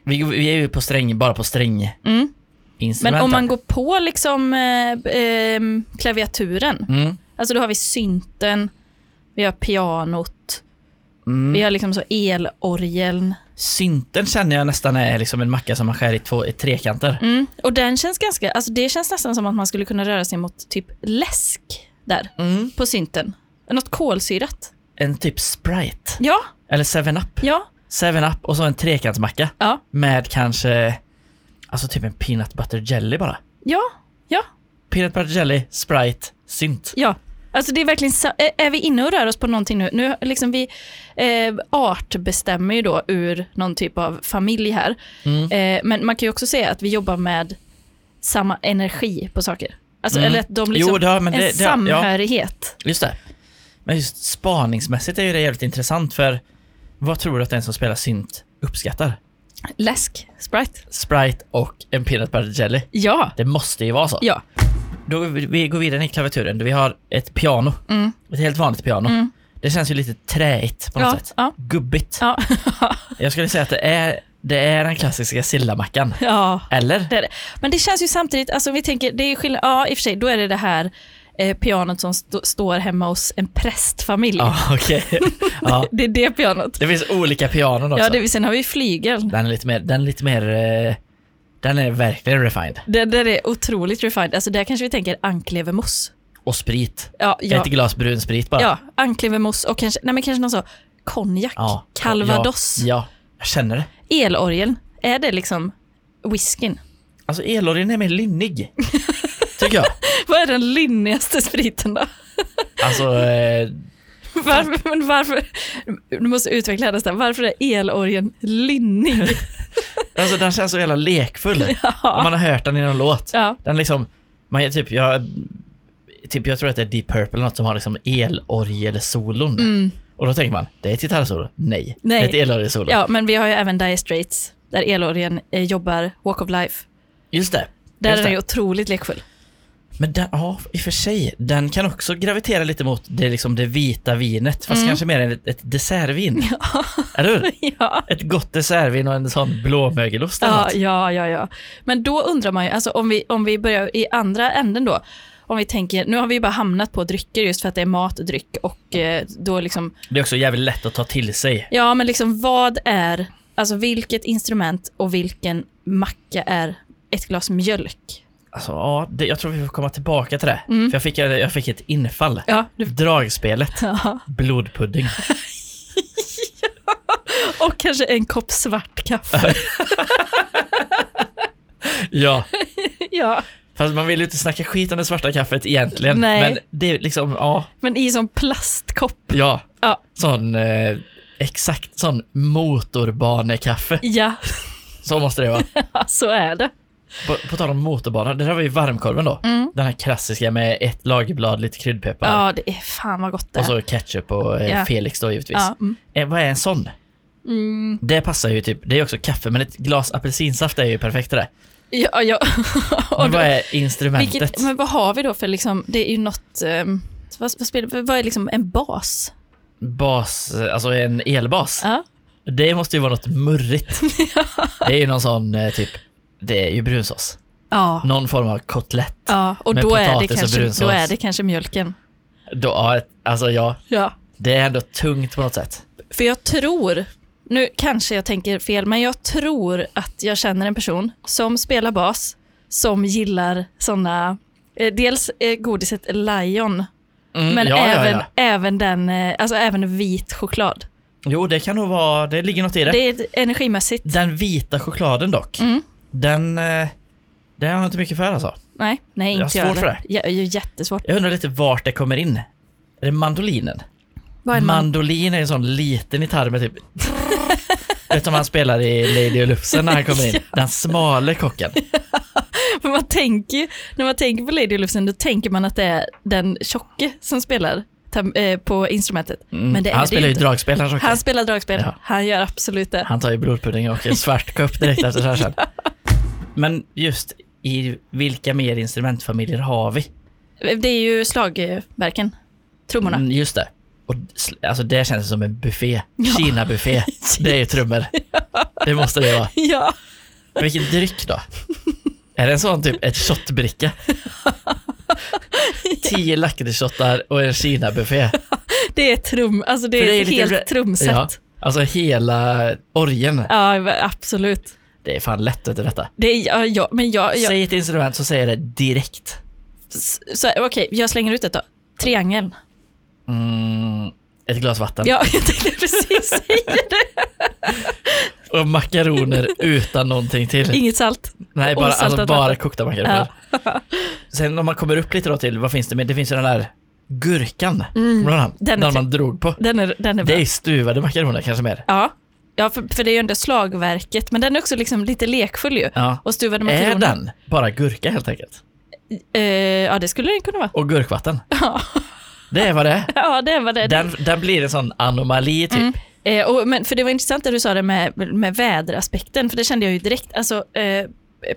Speaker 1: Vi, vi är ju på sträng, bara på sträng
Speaker 2: Mm. Men
Speaker 1: instrumenten.
Speaker 2: om man går på liksom eh, eh, klaviaturen,
Speaker 1: Mm.
Speaker 2: alltså då har vi synten, vi har pianot,
Speaker 1: Mm.
Speaker 2: vi har liksom så elorgeln.
Speaker 1: Synten känner jag nästan är liksom en macka som man skär i två i trekanter.
Speaker 2: Mm. Och den känns ganska, alltså det känns nästan som att man skulle kunna röra sig mot typ läsk där
Speaker 1: Mm.
Speaker 2: på synten. Något kolsyrat.
Speaker 1: En typ Sprite.
Speaker 2: Ja,
Speaker 1: Eller 7-Up.
Speaker 2: ja,
Speaker 1: 7-Up och så en trekantsmacka.
Speaker 2: ja,
Speaker 1: Med kanske, alltså typ en peanut butter jelly bara.
Speaker 2: ja, ja,
Speaker 1: Peanut butter jelly, Sprite, synt.
Speaker 2: ja. Alltså det är verkligen, sa- är- är vi inne och rör oss på någonting nu? Nu liksom vi eh, artbestämmer ju då ur någon typ av familj här.
Speaker 1: Mm.
Speaker 2: Eh, men man kan ju också säga att vi jobbar med samma energi på saker. Alltså,
Speaker 1: Mm.
Speaker 2: Eller att de liksom,
Speaker 1: Jo, det har- men
Speaker 2: en
Speaker 1: det- det- ja.
Speaker 2: samhörighet.
Speaker 1: Just det. Men just spaningsmässigt är ju det jävligt intressant för vad tror du att den som spelar synt uppskattar?
Speaker 2: Läsk, Sprite.
Speaker 1: Sprite och en peanut butter jelly.
Speaker 2: Ja,
Speaker 1: Det måste ju vara så.
Speaker 2: ja.
Speaker 1: Då går vi vi går vidare i klaviaturen. Vi har ett piano.
Speaker 2: Mm.
Speaker 1: Ett helt vanligt piano.
Speaker 2: Mm.
Speaker 1: Det känns ju lite träigt på något
Speaker 2: ja,
Speaker 1: sätt.
Speaker 2: ja,
Speaker 1: Gubbigt.
Speaker 2: ja,
Speaker 1: Jag skulle säga att det är, det är den klassiska sillamackan.
Speaker 2: (laughs) ja.
Speaker 1: Eller?
Speaker 2: Det är det. Men det känns ju samtidigt, alltså vi tänker, det är skillnad, ja i och för sig, då är det det här eh, pianot som st- står hemma hos en prästfamilj.
Speaker 1: Ja, okej. (laughs) Ja.
Speaker 2: (laughs) Det är det pianot.
Speaker 1: Det finns olika pianon också.
Speaker 2: Ja, det, sen har vi flygeln.
Speaker 1: Den är lite mer, den är lite mer, eh, den är verkligen refined.
Speaker 2: Det där är otroligt refined, alltså där kanske vi tänker anklevermos.
Speaker 1: Och sprit.
Speaker 2: Ja, ja.
Speaker 1: Ett glas brun sprit bara.
Speaker 2: Ja, anklevermos och kanske, nej men kanske någon så konjak,
Speaker 1: Ja.
Speaker 2: calvados.
Speaker 1: Ja, Jag känner det.
Speaker 2: Elorgeln, är det liksom whiskyn? (laughs)
Speaker 1: Alltså elorgeln är mer linnig. tycker jag.
Speaker 2: Vad är den linnigaste spriten då? (laughs)
Speaker 1: Alltså, eh,
Speaker 2: Varför, men varför, du måste utveckla det sen. Varför är elorgeln
Speaker 1: (laughs)
Speaker 2: linnig?
Speaker 1: alltså den känns så jävla lekfull. Om
Speaker 2: (laughs) Ja.
Speaker 1: man har hört den i någon låt.
Speaker 2: ja.
Speaker 1: Den liksom, man är typ, jag, typ, jag tror att det är Deep Purple eller något som har liksom elorgelsolon.
Speaker 2: Mm.
Speaker 1: Och då tänker man, det är ett gitarrsolo? Nej.
Speaker 2: Nej.
Speaker 1: Det är ett elorgelsolo.
Speaker 2: ja, men vi har ju även Dire Straits, där elorgeln eh, jobbar Walk of Life.
Speaker 1: Just det.
Speaker 2: Där
Speaker 1: Just
Speaker 2: är
Speaker 1: det.
Speaker 2: den ju otroligt lekfull. (laughs)
Speaker 1: Men den, ja, i och för sig, den kan också gravitera lite mot det, liksom det vita vinet, fast
Speaker 2: Mm.
Speaker 1: kanske mer ett, ett dessertvin. Eller hur?
Speaker 2: ja.
Speaker 1: Ett gott dessertvin och en sån blåmögelost eller
Speaker 2: Ja,
Speaker 1: något.
Speaker 2: ja, ja, ja. Men då undrar man ju, alltså om vi, om vi börjar i andra änden då, om vi tänker, nu har vi ju bara hamnat på drycker just för att det är mat, dryck och eh, då liksom,
Speaker 1: Det är också jävligt lätt att ta till sig.
Speaker 2: ja men liksom vad är, alltså vilket instrument och vilken macka är ett glas mjölk?
Speaker 1: Alltså, ja, det, jag tror vi får komma tillbaka till det.
Speaker 2: Mm.
Speaker 1: För jag fick, jag fick ett infall.
Speaker 2: Ja, du,
Speaker 1: Dragspelet,
Speaker 2: ja.
Speaker 1: blodpudding.
Speaker 2: Och kanske en kopp svart kaffe.
Speaker 1: (laughs) ja,
Speaker 2: ja,
Speaker 1: fast man vill ju inte snacka skit om det svarta kaffet egentligen.
Speaker 2: Nej.
Speaker 1: Men det är liksom, ja,
Speaker 2: men i sån plastkopp.
Speaker 1: ja.
Speaker 2: Ja.
Speaker 1: Sån, eh, exakt sån motorbanekaffe.
Speaker 2: Ja,
Speaker 1: Så måste det vara.
Speaker 2: så är det.
Speaker 1: På, på tal om motorbana, där har vi varmkorven då. Den här klassiska med ett lagerblad, lite kryddpeppar
Speaker 2: Mm. Ja, det är fan vad gott det
Speaker 1: och så
Speaker 2: är.
Speaker 1: ketchup och eh,
Speaker 2: Ja.
Speaker 1: Felix då givetvis.
Speaker 2: Ja, mm.
Speaker 1: Eh, vad är en sån?
Speaker 2: Mm.
Speaker 1: Det passar ju typ, det är också kaffe, men ett glas apelsinsaft är ju perfekt till det.
Speaker 2: ja, ja.
Speaker 1: Men
Speaker 2: Och då-
Speaker 1: vad är instrumentet?
Speaker 2: Vilket, men vad har vi då för liksom, det är ju något, ehm, vad, vad, spelar, vad är liksom en bas?
Speaker 1: Bas, eh, alltså en elbas.
Speaker 2: Ja,
Speaker 1: Det måste ju vara något
Speaker 2: (laughs)
Speaker 1: murrigt. Det är ju någon sån eh, typ, det är ju brunsås.
Speaker 2: ja,
Speaker 1: Någon form av kotlett.
Speaker 2: ja. och
Speaker 1: Med
Speaker 2: då är, det
Speaker 1: potatis och
Speaker 2: kanske,
Speaker 1: brunsås.
Speaker 2: då är det kanske mjölken.
Speaker 1: Då, ja, ett- alltså ja,
Speaker 2: Ja.
Speaker 1: det är ändå tungt på något sätt.
Speaker 2: För jag tror, nu kanske jag tänker fel, men jag tror att jag känner en person som spelar bas, som gillar sådana, eh, dels eh, godiset Lion,
Speaker 1: Mm,
Speaker 2: men
Speaker 1: ja, ja,
Speaker 2: även,
Speaker 1: ja.
Speaker 2: även den, eh, alltså även vit choklad.
Speaker 1: Jo, det kan nog vara, det ligger något i det.
Speaker 2: Det är energimässigt,
Speaker 1: Den vita chokladen dock,
Speaker 2: Mm.
Speaker 1: den, eh, den har jag inte mycket för alltså.
Speaker 2: nej, nej
Speaker 1: Jag har
Speaker 2: inte jag
Speaker 1: svårt för
Speaker 2: heller. Ja, det är jättesvårt.
Speaker 1: Jag undrar lite vart det kommer in. Är det mandolinen?
Speaker 2: Vad är en man?
Speaker 1: Mandolin är en sån liten gitarr
Speaker 2: (laughs)
Speaker 1: med typ... Vet du om han spelar i Lady och Lufsen när han
Speaker 2: (laughs)
Speaker 1: kommer in? Den smale kocken.
Speaker 2: För (laughs) man tänker, ju- när man tänker på Lady Olufsen, då tänker man att det är den tjocke som spelar tam- eh, på instrumentet. Mm. Men det är
Speaker 1: Mm. han
Speaker 2: det
Speaker 1: spelar ju
Speaker 2: inte.
Speaker 1: dragspel, han kocken.
Speaker 2: Han spelar dragspel,
Speaker 1: Ja.
Speaker 2: han gör absolut det.
Speaker 1: Han tar ju blodpudding och en svart kopp direkt efter så här
Speaker 2: (laughs)
Speaker 1: sen. Men just i vilka mer instrumentfamiljer har vi?
Speaker 2: Det är ju slagverken, trummorna.
Speaker 1: Mm, just det. Och, sl- alltså det känns som en buffé.
Speaker 2: Ja. (laughs)
Speaker 1: Kina-buffé. Det är ju trummor. Det måste det vara.
Speaker 2: (laughs) Ja,
Speaker 1: Vilken dryck då? Är det en sån typ ett
Speaker 2: (laughs)
Speaker 1: shotbricka? Tio lakritsshottar och en kinabuffé.
Speaker 2: det är trum, alltså det
Speaker 1: För
Speaker 2: är,
Speaker 1: det är
Speaker 2: ett
Speaker 1: lite
Speaker 2: helt
Speaker 1: re- Ja,
Speaker 2: trumset.
Speaker 1: alltså hela orgen.
Speaker 2: Ja. absolut.
Speaker 1: Det är fan lätt vet du detta.
Speaker 2: Det är, ja, ja, men jag, jag,
Speaker 1: Säg ett instrument så säger jag det direkt.
Speaker 2: s- så, okej, jag slänger ut ett då. Triangeln.
Speaker 1: Mm, ett glas vatten.
Speaker 2: Ja, (laughs) jag tänkte precis
Speaker 1: (laughs)
Speaker 2: säga det.
Speaker 1: Och makaroner utan någonting
Speaker 2: (laughs)
Speaker 1: till.
Speaker 2: Inget salt.
Speaker 1: Nej, bara,
Speaker 2: osaltat
Speaker 1: alltså, bara
Speaker 2: vatten.
Speaker 1: kokta makaroner. Sen om man kommer upp lite då till, vad finns det med? Det finns ju den där gurkan. Kommer du ihåg
Speaker 2: Mm. Den
Speaker 1: Den,
Speaker 2: är
Speaker 1: den
Speaker 2: fin.
Speaker 1: man drog på.
Speaker 2: Den är, den
Speaker 1: Det
Speaker 2: är bra.
Speaker 1: är ju stuvade makaroner kanske mer.
Speaker 2: Ja, ja för, för det är ju ändå slagverket, men den är också liksom lite lekfull ju.
Speaker 1: Ja.
Speaker 2: Och stuvade
Speaker 1: Är
Speaker 2: makaroner.
Speaker 1: den bara gurka helt enkelt?
Speaker 2: Eh, ja, det skulle den kunna vara. (laughs)
Speaker 1: Och gurkvatten? Det är vad det är.
Speaker 2: Ja, det var det.
Speaker 1: Den, den blir en sån anomali typ.
Speaker 2: Eh, och, men, för det var intressant det du sa det med, med väderaspekten, för det kände jag ju direkt. Alltså, eh,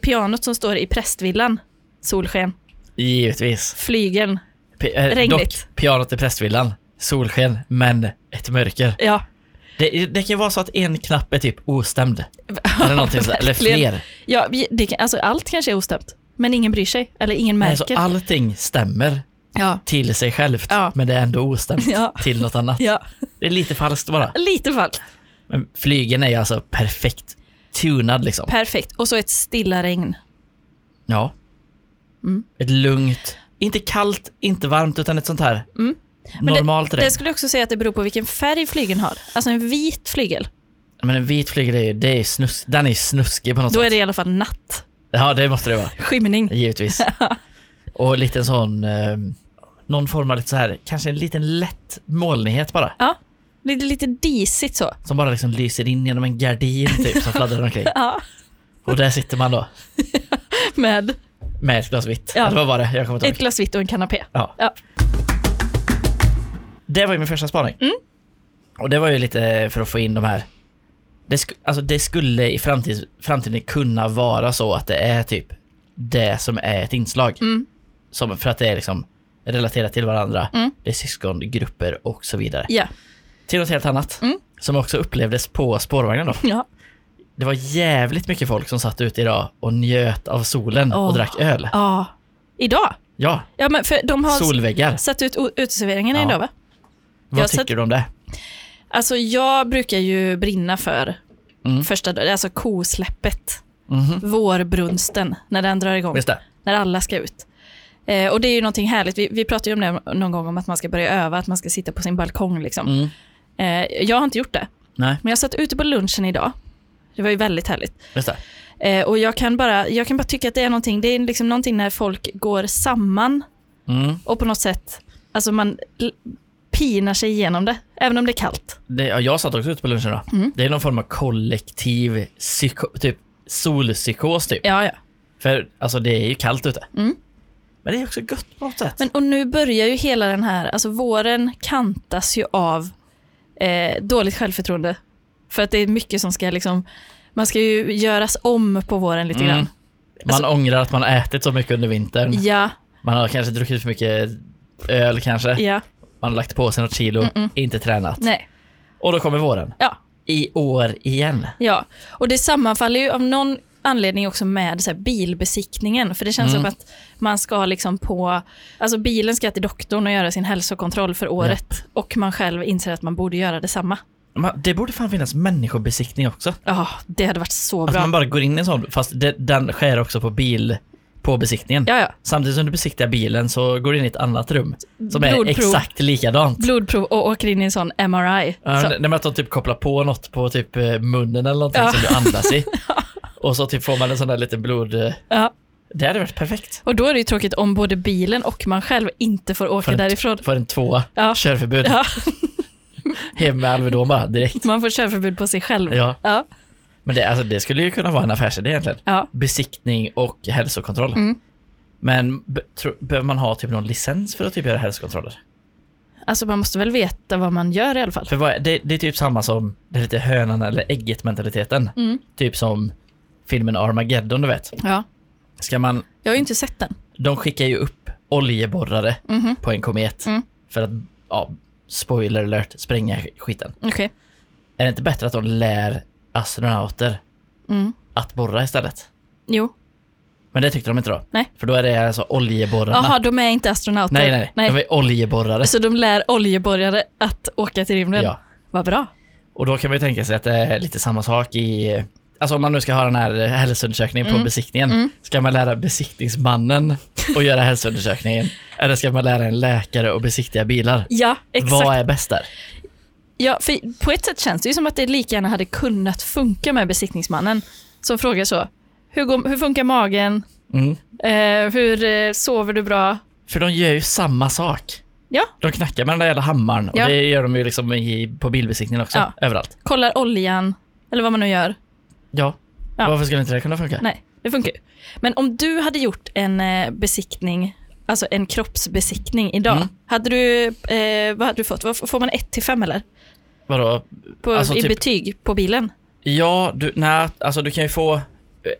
Speaker 2: pianot som står i prästvillan, solsken,
Speaker 1: Givetvis.
Speaker 2: flygeln,
Speaker 1: P- eh,
Speaker 2: Regnigt.
Speaker 1: Dock, pianot i prästvillan, solsken, men ett mörker.
Speaker 2: ja.
Speaker 1: Det, det kan ju vara så att en knapp är typ
Speaker 2: (laughs)
Speaker 1: ostämd. Eller, någonting sådär, eller
Speaker 2: Verkligen.
Speaker 1: fler.
Speaker 2: ja vi- det kan, alltså, allt kanske är ostämt, men ingen bryr sig, eller ingen
Speaker 1: Nej, så
Speaker 2: märker.
Speaker 1: allting stämmer
Speaker 2: ja.
Speaker 1: till sig självt,
Speaker 2: Ja.
Speaker 1: men det är ändå ostämt
Speaker 2: (laughs) Ja.
Speaker 1: till något annat.
Speaker 2: ja,
Speaker 1: Det är lite falskt bara.
Speaker 2: lite falskt.
Speaker 1: Men flygen är ju alltså perfekt tunad liksom.
Speaker 2: Perfekt. Och så ett stilla regn.
Speaker 1: Ja.
Speaker 2: Mm.
Speaker 1: Ett lugnt, inte kallt, inte varmt, utan ett sånt här
Speaker 2: Mm. Men
Speaker 1: normalt
Speaker 2: Det
Speaker 1: regn.
Speaker 2: skulle jag också säga att det beror på vilken färg flygeln har. Alltså en vit flygel.
Speaker 1: Men en vit flyga, det är, det är snus, den är snuskig på något
Speaker 2: Då
Speaker 1: sätt.
Speaker 2: är det i alla fall natt.
Speaker 1: Ja, det måste det vara.
Speaker 2: Skymning. (laughs)
Speaker 1: Givetvis. Och lite sån, eh, någon form av lite så här, kanske en liten lätt molnighet bara.
Speaker 2: Ja, lite, lite disigt så.
Speaker 1: Som bara liksom lyser in genom en gardin typ som fladdrar omkring.
Speaker 2: (laughs) Ja,
Speaker 1: Och där sitter man då
Speaker 2: med
Speaker 1: med ett glas vitt.
Speaker 2: Ja.
Speaker 1: Eller vad var det? Jag kommer inte ihåg.
Speaker 2: ett glas vitt och en kanapé.
Speaker 1: Ja.
Speaker 2: Ja.
Speaker 1: Det var ju min första spaning.
Speaker 2: Mm.
Speaker 1: Och det var ju lite för att få in de här. Det, sk- alltså det skulle i framtid, framtiden kunna vara så att det är typ det som är ett inslag.
Speaker 2: Mm.
Speaker 1: Som, för att det är liksom relaterat till varandra.
Speaker 2: Mm.
Speaker 1: Det är syskongrupper och så vidare.
Speaker 2: Ja.
Speaker 1: Till något helt annat.
Speaker 2: Mm.
Speaker 1: Som också upplevdes på spårvagnen då.
Speaker 2: ja.
Speaker 1: Det var jävligt mycket folk som satt ute idag och njöt av solen och
Speaker 2: Åh.
Speaker 1: drack öl.
Speaker 2: ja. Idag?
Speaker 1: Ja,
Speaker 2: Ja, men för de har
Speaker 1: solväggar.
Speaker 2: satt ut o- uteserveringarna
Speaker 1: Ja.
Speaker 2: idag va?
Speaker 1: Vad
Speaker 2: jag
Speaker 1: tycker
Speaker 2: satt-
Speaker 1: du om det?
Speaker 2: Alltså jag brukar ju brinna för
Speaker 1: Mm.
Speaker 2: första dagen, alltså kosläppet,
Speaker 1: Mhm.
Speaker 2: vårbrunsten, när den drar igång,
Speaker 1: Just det.
Speaker 2: när alla ska ut. Eh, och det är ju någonting härligt, vi, vi pratade ju om det någon gång, om att man ska börja öva, att man ska sitta på sin balkong liksom.
Speaker 1: Mm.
Speaker 2: Eh, jag har inte gjort det,
Speaker 1: Nej,
Speaker 2: men jag satt ute på lunchen idag. Det var ju väldigt härligt.
Speaker 1: just det.
Speaker 2: Eh, och jag kan, bara, jag kan bara tycka att det är någonting, det är liksom någonting när folk går samman
Speaker 1: Mm.
Speaker 2: och på något sätt, alltså man l- pinar sig igenom det, även om det är kallt.
Speaker 1: det ja, jag satt också ute på lunchen då.
Speaker 2: Mm.
Speaker 1: Det är någon form av kollektiv psyko, typ solpsykos typ.
Speaker 2: Ja, ja.
Speaker 1: För alltså det är ju kallt ute.
Speaker 2: Mm.
Speaker 1: Men det är också gött på något sätt.
Speaker 2: Men, och nu börjar ju hela den här, alltså våren kantas ju av eh, dåligt självförtroende. För att det är mycket som ska liksom, man ska ju göras om på våren lite
Speaker 1: Mm.
Speaker 2: grann.
Speaker 1: man ångrar att man har ätit så mycket under vintern.
Speaker 2: Alltså- Ja,
Speaker 1: Man har kanske druckit för mycket öl kanske.
Speaker 2: ja,
Speaker 1: Man har lagt på sig något kilo, inte tränat.
Speaker 2: nej,
Speaker 1: Och då kommer våren.
Speaker 2: ja,
Speaker 1: I år igen.
Speaker 2: ja. Och det sammanfaller ju av någon anledning också med så här bilbesiktningen. För det känns
Speaker 1: Mm.
Speaker 2: som att man ska liksom på, alltså bilen ska till doktorn och göra sin hälsokontroll för året. Och man själv inser att man borde göra detsamma.
Speaker 1: Man, det borde fan finnas människobesiktning också.
Speaker 2: Ja, det hade varit så
Speaker 1: Att
Speaker 2: bra.
Speaker 1: Alltså, man bara går in i en sån, fast det, den sker också på bil, på besiktningen.
Speaker 2: Ja, ja.
Speaker 1: Samtidigt som du besiktar bilen så går du in i ett annat rum som är
Speaker 2: Blodprov.
Speaker 1: exakt likadant.
Speaker 2: blodprov och åker in i en sån MRI.
Speaker 1: Ja,
Speaker 2: så.
Speaker 1: n- nej, men att de typ kopplar på något på typ eh, munnen eller någonting
Speaker 2: Ja.
Speaker 1: som du andas
Speaker 2: (laughs)
Speaker 1: i. Och så typ får man en sån där liten blod... eh,
Speaker 2: Ja.
Speaker 1: Det hade varit perfekt.
Speaker 2: Och då är det ju tråkigt om både bilen och man själv inte får åka
Speaker 1: För en-
Speaker 2: därifrån.
Speaker 1: För en tvåa,
Speaker 2: Ja.
Speaker 1: körförbud,
Speaker 2: Ja,
Speaker 1: (laughs) hem med Alvedon bara direkt.
Speaker 2: man får körförbud på sig själv.
Speaker 1: Ja.
Speaker 2: Ja,
Speaker 1: Men det, alltså, det skulle ju kunna vara en affärsidé egentligen.
Speaker 2: ja.
Speaker 1: Besiktning och hälsokontroll.
Speaker 2: Mm.
Speaker 1: Men be, tro, behöver man ha typ någon licens för att typ göra hälsokontroller?
Speaker 2: Alltså man måste väl veta vad man gör i alla fall.
Speaker 1: För vad, är- det, det är typ samma som det är lite hönan eller ägget mentaliteten.
Speaker 2: Mm.
Speaker 1: Typ som filmen Armageddon du vet.
Speaker 2: Ja.
Speaker 1: Ska man,
Speaker 2: Jag har ju inte sett den.
Speaker 1: de skickar ju upp oljeborrare
Speaker 2: Mhm.
Speaker 1: på en komet
Speaker 2: Mm.
Speaker 1: för att, ja, spoiler alert, spränga sk- skiten.
Speaker 2: Okej.
Speaker 1: Är det inte bättre att de lär astronauter
Speaker 2: Mm.
Speaker 1: att borra istället?
Speaker 2: Jo.
Speaker 1: Men det tyckte de inte då.
Speaker 2: Nej.
Speaker 1: För då är det alltså oljeborrarna.
Speaker 2: Jaha, de är inte astronauter.
Speaker 1: nej, nej, nej. De är oljeborrare.
Speaker 2: Så de lär oljeborgare att åka till rymden.
Speaker 1: Ja.
Speaker 2: Vad bra.
Speaker 1: Och då kan man ju tänka sig att det är lite samma sak i... Alltså om man nu ska ha den här hälsoundersökningen
Speaker 2: Mm.
Speaker 1: på besiktningen. Ska man lära besiktningsmannen att göra hälsoundersökningen? Eller ska man lära en läkare att besiktiga bilar?
Speaker 2: Ja, exakt.
Speaker 1: Vad är bäst där?
Speaker 2: Ja, för på ett sätt känns det ju som att det lika gärna hade kunnat funka med besiktningsmannen som frågar så. Hur, går, hur funkar magen?
Speaker 1: Mm.
Speaker 2: Eh, hur eh, sover du bra?
Speaker 1: För de gör ju samma sak.
Speaker 2: Ja.
Speaker 1: De knackar med den där jävla hammaren och
Speaker 2: Ja.
Speaker 1: det gör de ju liksom i, på bilbesiktningen också,
Speaker 2: Ja.
Speaker 1: överallt.
Speaker 2: Kollar oljan, eller vad man nu gör.
Speaker 1: Ja.
Speaker 2: Ja.
Speaker 1: Varför skulle inte det kunna funka?
Speaker 2: Nej, det funkar ju. Men om du hade gjort en eh, besiktning, alltså en kroppsbesiktning idag,
Speaker 1: Mm.
Speaker 2: hade du, eh, vad hade du fått? Vad f- Får man 1 till 5 eller?
Speaker 1: Vadå?
Speaker 2: På,
Speaker 1: Alltså,
Speaker 2: I
Speaker 1: typ-
Speaker 2: betyg på bilen?
Speaker 1: Ja, du, nej, alltså du kan ju få...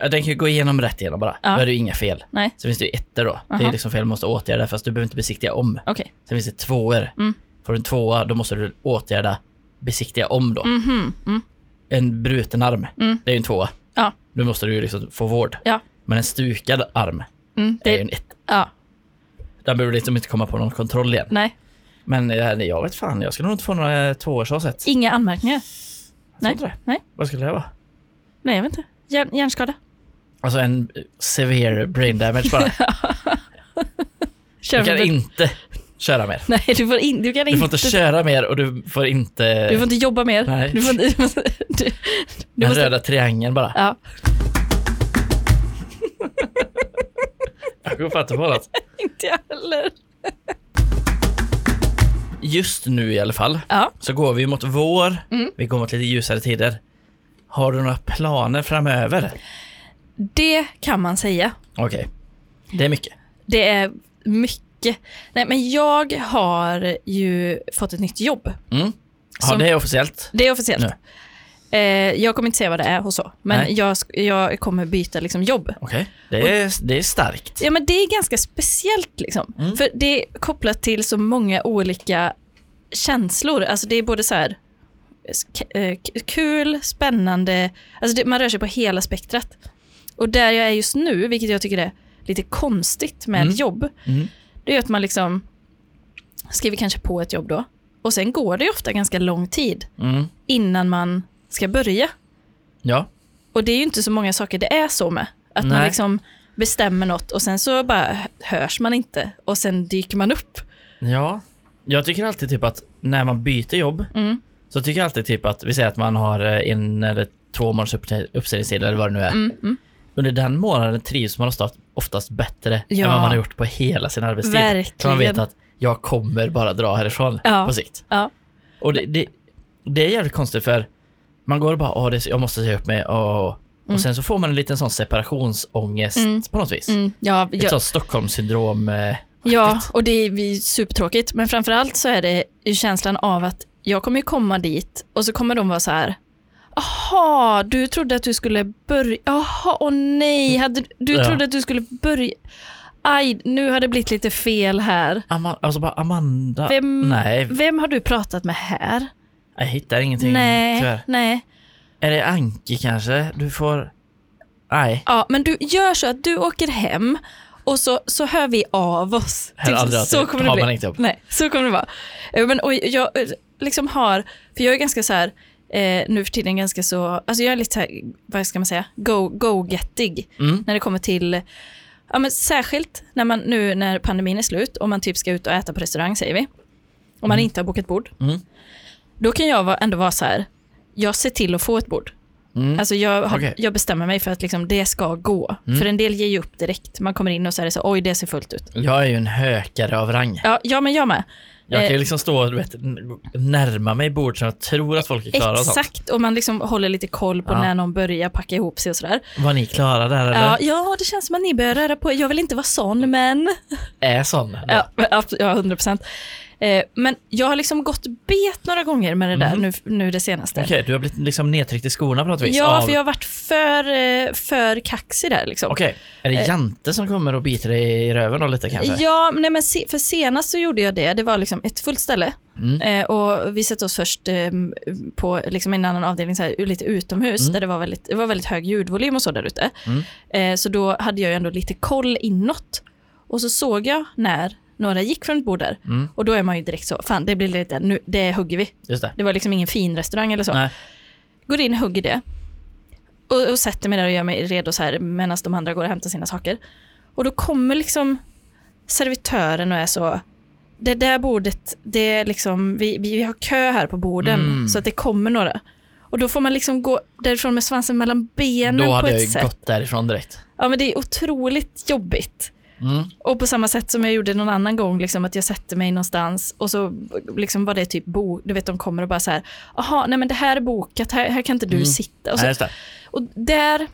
Speaker 1: Den kan ju gå igenom rätt igenom bara.
Speaker 2: Ja.
Speaker 1: Då är det ju inga fel.
Speaker 2: Nej,
Speaker 1: Så finns det ju ettor då. Det är
Speaker 2: Aha.
Speaker 1: liksom fel man måste åtgärda fast du behöver inte besiktiga om.
Speaker 2: okej.
Speaker 1: Sen finns det tvåor.
Speaker 2: Mm.
Speaker 1: Får du en tvåa då måste du åtgärda besiktiga om då.
Speaker 2: Mhm, mm.
Speaker 1: En bruten arm,
Speaker 2: Mm.
Speaker 1: det är ju en tvåa.
Speaker 2: Ja.
Speaker 1: Nu måste du ju liksom få vård.
Speaker 2: Ja.
Speaker 1: Men en stukad arm
Speaker 2: Mm,
Speaker 1: är ju
Speaker 2: det,
Speaker 1: en etta.
Speaker 2: ja,
Speaker 1: Där behöver du liksom inte komma på någon kontroll igen.
Speaker 2: nej.
Speaker 1: Men eh, jag vet fan, jag skulle nog inte få några eh, tvåårsavsätt.
Speaker 2: Inga anmärkningar? Nej.
Speaker 1: Sånt där.
Speaker 2: Nej.
Speaker 1: Vad skulle det vara?
Speaker 2: Nej, jag vet inte. Hjärn, hjärnskada?
Speaker 1: Alltså
Speaker 2: (laughs)
Speaker 1: en eh, severe brain damage bara.
Speaker 2: Kör
Speaker 1: Du kan
Speaker 2: vi-
Speaker 1: inte köra mer.
Speaker 2: Nej, du, får in, du kan
Speaker 1: Du får inte köra mer och du får inte
Speaker 2: du får inte jobba mer.
Speaker 1: Nej.
Speaker 2: Du får inte, du måste, du, du
Speaker 1: den
Speaker 2: måste,
Speaker 1: röda triangeln bara.
Speaker 2: ja.
Speaker 1: Jag går fatta på det.
Speaker 2: Inte jag heller.
Speaker 1: Just nu i alla fall
Speaker 2: Ja.
Speaker 1: så går vi mot vår.
Speaker 2: Mm.
Speaker 1: Vi går mot lite ljusare tider. Har du några planer framöver?
Speaker 2: Det kan man säga.
Speaker 1: Okej, det är mycket.
Speaker 2: Det är mycket. Nej, men jag har ju fått ett nytt jobb.
Speaker 1: Mm. Ja,
Speaker 2: Som-
Speaker 1: det är officiellt.
Speaker 2: Det är officiellt. Eh, jag kommer inte säga vad det är och så, men
Speaker 1: Nej.
Speaker 2: jag, sk- jag kommer byta liksom, jobb.
Speaker 1: Okej, det, är, det är starkt.
Speaker 2: Ja, men det är ganska speciellt, liksom.
Speaker 1: Mm.
Speaker 2: för det är kopplat till så många olika känslor. Alltså, det är både så här sk- eh, k- kul, spännande, alltså det, man rör sig på hela spektrat. Och där jag är just nu, vilket jag tycker är lite konstigt med
Speaker 1: Mm.
Speaker 2: jobb,
Speaker 1: Mm.
Speaker 2: det är att man liksom skriver kanske på ett jobb då, och sen går det ju ofta ganska lång tid
Speaker 1: Mm.
Speaker 2: innan man ska börja.
Speaker 1: Ja,
Speaker 2: Och det är ju inte så många saker det är så med. Att man
Speaker 1: Nej.
Speaker 2: liksom bestämmer något och sen så bara hörs man inte och sen dyker man upp.
Speaker 1: Ja, jag tycker alltid typ att när man byter jobb
Speaker 2: Mm.
Speaker 1: så tycker jag alltid typ att vi säger att man har eh, en eller två månaders upptä- uppsägningstid eller vad det nu är.
Speaker 2: Mm, mm.
Speaker 1: Under den månaden trivs man oftast, oftast bättre
Speaker 2: Ja.
Speaker 1: än vad man har gjort på hela sin arbetstid. För man vet
Speaker 2: Verkligen.
Speaker 1: att jag kommer bara dra härifrån
Speaker 2: Ja.
Speaker 1: på sikt.
Speaker 2: Ja.
Speaker 1: Och det, det, det är jävligt konstigt för man går och bara, åh, det, är så- jag måste säga upp mig. åh."
Speaker 2: Mm.
Speaker 1: Och sen så får man en liten sån separationsångest
Speaker 2: Mm.
Speaker 1: på något vis.
Speaker 2: Mm, ja,
Speaker 1: Ett
Speaker 2: ja,
Speaker 1: sånt Stockholmssyndrom. eh,
Speaker 2: ja, och det är ju supertråkigt. Men framförallt så är det ju känslan av att jag kommer ju komma dit och så kommer de vara så här Jaha, du trodde att du skulle börja... Jaha, åh nej, hade, du- du
Speaker 1: Ja.
Speaker 2: trodde att du skulle börja... Aj, nu har det blivit lite fel här.
Speaker 1: Ama- alltså bara Amanda.
Speaker 2: Vem-
Speaker 1: Nej,
Speaker 2: Vem har du pratat med här?
Speaker 1: jag hittar ingenting
Speaker 2: Nej,
Speaker 1: tyvärr.
Speaker 2: nej.
Speaker 1: Är det Anki kanske? Du får... Nej.
Speaker 2: Ja, men du gör så att du åker hem och så, så hör vi av oss.
Speaker 1: Här
Speaker 2: Typ,
Speaker 1: aldrig
Speaker 2: så
Speaker 1: alltid
Speaker 2: kommer
Speaker 1: har
Speaker 2: det
Speaker 1: man
Speaker 2: bli.
Speaker 1: inte jobb.
Speaker 2: Nej, så kommer det vara. Eh, Men, och jag eh, liksom har, för jag är ganska så här, eh, nu för tiden ganska så, alltså jag är lite så här, vad ska man säga, go- go-gettig
Speaker 1: Mm.
Speaker 2: när det kommer till, ja men särskilt när man nu när pandemin är slut och man typ ska ut och äta på restaurang säger vi, om man
Speaker 1: Mm.
Speaker 2: inte har bokat bord,
Speaker 1: Mm.
Speaker 2: då kan jag vara, ändå vara så här, jag ser till att få ett bord.
Speaker 1: Mm.
Speaker 2: Alltså jag, har,
Speaker 1: Okej.
Speaker 2: jag bestämmer mig för att liksom det ska gå.
Speaker 1: Mm.
Speaker 2: För en del ger ju upp direkt. Man kommer in och så är det så, oj det ser fullt ut.
Speaker 1: Jag är ju en hökare av rang.
Speaker 2: Ja, ja men jag med.
Speaker 1: Jag kan ju
Speaker 2: Eh.
Speaker 1: liksom stå och du vet, n- närma mig bord som jag tror att folk är klara och sånt.
Speaker 2: Exakt, och man liksom håller lite koll på
Speaker 1: Ja.
Speaker 2: när någon börjar packa ihop sig och sådär.
Speaker 1: Var ni klara där eller?
Speaker 2: Ja, ja, det känns som att ni börjar röra på er. Jag vill inte vara sån, men...
Speaker 1: Är sån?
Speaker 2: Ja, abs- ja 100 procent. Eh, Men jag har liksom gått bet några gånger med det där
Speaker 1: Mhm.
Speaker 2: nu, nu det senaste.
Speaker 1: Okej, du har blivit liksom nedtryckt i skorna på något vis?
Speaker 2: Ja,
Speaker 1: av-
Speaker 2: för jag har varit för, eh, för kaxig där liksom.
Speaker 1: Okej, är det
Speaker 2: Eh.
Speaker 1: Jante som kommer och biter dig i röven då lite kanske?
Speaker 2: Ja, men nej, men se, för senast så gjorde jag det. Det var liksom ett fullt ställe.
Speaker 1: Mm.
Speaker 2: Eh, och vi satte oss först eh, på liksom en annan avdelning, så här, lite utomhus,
Speaker 1: Mm.
Speaker 2: där det var, väldigt, det var väldigt hög ljudvolym och så där ute.
Speaker 1: Mm.
Speaker 2: Eh, så då hade jag ju ändå lite koll inåt. Och så såg jag när några gick från ett bord där.
Speaker 1: Mm.
Speaker 2: Och då är man ju direkt så, fan det blir lite, nu, det hugger vi.
Speaker 1: Just det.
Speaker 2: Det var liksom ingen fin restaurang eller så.
Speaker 1: Nej.
Speaker 2: Går in, hugger det. Och, och sätter mig där och gör mig redo så här medan de andra går och hämtar sina saker. Och då kommer liksom servitören och är så, det där bordet, det är liksom, vi, vi, vi har kö här på borden
Speaker 1: Mm.
Speaker 2: så att det kommer några. Och då får man liksom gå därifrån med svansen mellan benen
Speaker 1: Då
Speaker 2: på
Speaker 1: hade jag
Speaker 2: ett
Speaker 1: ju
Speaker 2: sätt.
Speaker 1: gått därifrån direkt.
Speaker 2: Ja men det är otroligt jobbigt.
Speaker 1: Mm.
Speaker 2: Och på samma sätt som jag gjorde någon annan gång, liksom, att jag sätter mig någonstans och så liksom, var det typ bo, du vet de kommer och bara så här, jaha, nej men det här är bokat, här, här kan inte du
Speaker 1: Mm.
Speaker 2: sitta. Och,
Speaker 1: Nej,
Speaker 2: så,
Speaker 1: just det.
Speaker 2: och där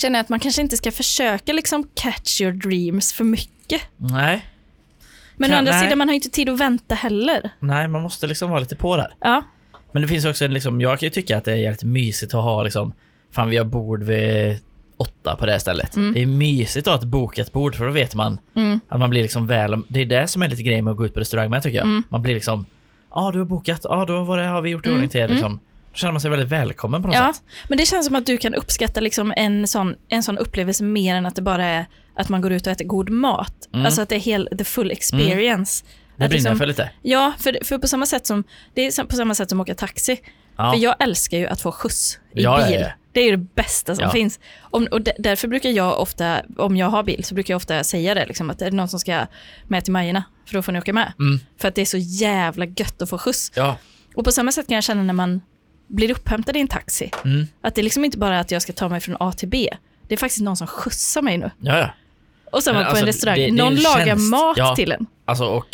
Speaker 2: känner jag att man kanske inte ska försöka liksom catch your dreams för mycket.
Speaker 1: Nej.
Speaker 2: Men å
Speaker 1: Ja,
Speaker 2: andra
Speaker 1: nej.
Speaker 2: sidan, man har ju inte tid att vänta heller.
Speaker 1: Nej, man måste liksom vara lite på där.
Speaker 2: Ja,
Speaker 1: Men det finns också en, liksom, jag kan ju tycka att det är jävligt mysigt att ha liksom, fan vi har bord vid åtta på det här stället.
Speaker 2: Mm.
Speaker 1: Det är mysigt att ha ett bokat bord för då vet man
Speaker 2: mm,
Speaker 1: att man blir liksom väl, det är det som är lite grejen med att gå ut på restaurang med tycker jag.
Speaker 2: Mm.
Speaker 1: Man blir liksom, ja ah, du har bokat, ja ah, då var det, har vi gjort i
Speaker 2: Mm,
Speaker 1: ordning till er
Speaker 2: mm.
Speaker 1: liksom. Då känner man sig väldigt välkommen på något
Speaker 2: ja.
Speaker 1: sätt.
Speaker 2: Men det känns som att du kan uppskatta liksom en, sån, en sån upplevelse mer än att det bara är att man går ut och äter god mat.
Speaker 1: Mm.
Speaker 2: Alltså att det är hel, the full experience.
Speaker 1: Det
Speaker 2: Att
Speaker 1: brinner
Speaker 2: liksom-
Speaker 1: jag för lite.
Speaker 2: Ja, för, för på samma sätt som det är sam- på samma sätt som åka taxi.
Speaker 1: Ja.
Speaker 2: För jag älskar ju att få skjuts i
Speaker 1: Ja, ja,
Speaker 2: bil.
Speaker 1: ja.
Speaker 2: Det är ju det bästa som
Speaker 1: Ja.
Speaker 2: finns. Om, och d- därför brukar jag ofta, om jag har bil, så brukar jag ofta säga det, liksom, att är det någon som ska med till Majerna, för då får ni åka med.
Speaker 1: Mm.
Speaker 2: För att det är så jävla gött att få skjuts.
Speaker 1: Ja.
Speaker 2: Och på samma sätt kan jag känna när man blir upphämtad i en taxi,
Speaker 1: Mm.
Speaker 2: att det är liksom inte bara att jag ska ta mig från A till B. Det är faktiskt någon som skjutsar mig nu.
Speaker 1: ja, ja.
Speaker 2: Och sen
Speaker 1: Men
Speaker 2: var på
Speaker 1: alltså,
Speaker 2: en restaurang.
Speaker 1: det- det är
Speaker 2: någon
Speaker 1: en
Speaker 2: lagar
Speaker 1: tjänst.
Speaker 2: mat
Speaker 1: Ja.
Speaker 2: till en.
Speaker 1: Alltså och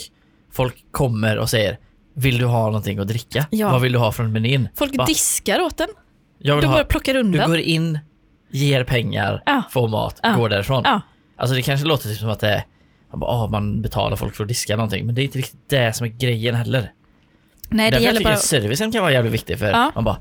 Speaker 1: folk kommer och säger Vill du ha någonting att dricka?
Speaker 2: Ja.
Speaker 1: Vad vill du ha från menyn?
Speaker 2: Folk
Speaker 1: Va?
Speaker 2: diskar åt en.
Speaker 1: Jag vill
Speaker 2: De bara
Speaker 1: ha.
Speaker 2: plockar
Speaker 1: Du
Speaker 2: undan.
Speaker 1: går in, ger pengar,
Speaker 2: Ja.
Speaker 1: får mat,
Speaker 2: Ja.
Speaker 1: går därifrån.
Speaker 2: Ja.
Speaker 1: Alltså det kanske låter typ som att det är, man, bara, "Ah, man betalar folk för att diska någonting, men det är inte riktigt det som är grejen heller.
Speaker 2: Nej, det
Speaker 1: Därför jag
Speaker 2: gäller
Speaker 1: tycker
Speaker 2: bara...
Speaker 1: att servicen kan vara jävligt viktig för
Speaker 2: Ja.
Speaker 1: man bara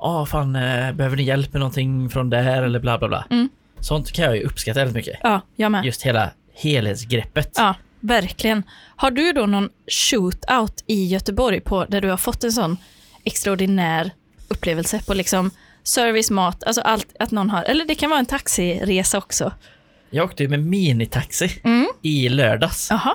Speaker 1: Ja fan, eh, behöver ni hjälp med någonting från det här eller bla bla bla.
Speaker 2: Mm.
Speaker 1: Sånt kan jag ju uppskatta väldigt mycket.
Speaker 2: Ja, jag med.
Speaker 1: Just hela helhetsgreppet.
Speaker 2: Ja, verkligen. Har du då någon shootout i Göteborg på där du har fått en sån extraordinär upplevelse på liksom service, mat, alltså allt att någon har. Eller det kan vara en taxiresa också.
Speaker 1: Jag åkte ju med minitaxi
Speaker 2: Mm.
Speaker 1: i lördags.
Speaker 2: Jaha.